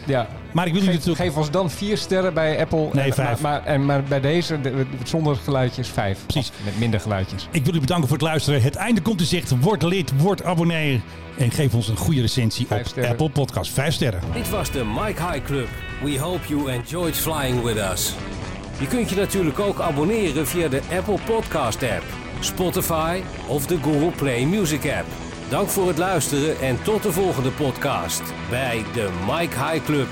Ja,
Maar ik wil jullie
Geef,
natuurlijk...
geef ons dan vier sterren bij Apple.
Nee,
en,
vijf.
Maar, maar, en, maar bij deze, de- zonder geluidjes, vijf.
Precies.
Of Met minder geluidjes.
Ik wil u bedanken voor het luisteren. Het einde komt in zicht. Word lid, word abonnee. En geef ons een goede recensie
Vijf
op
sterren.
Apple Podcast. Vijf sterren.
Dit was de Mike High Club. We hope you enjoyed flying with us. Je kunt je natuurlijk ook abonneren via de Apple Podcast app, Spotify of de Google Play Music app. Dank voor het luisteren en tot de volgende podcast bij de Mike High Club.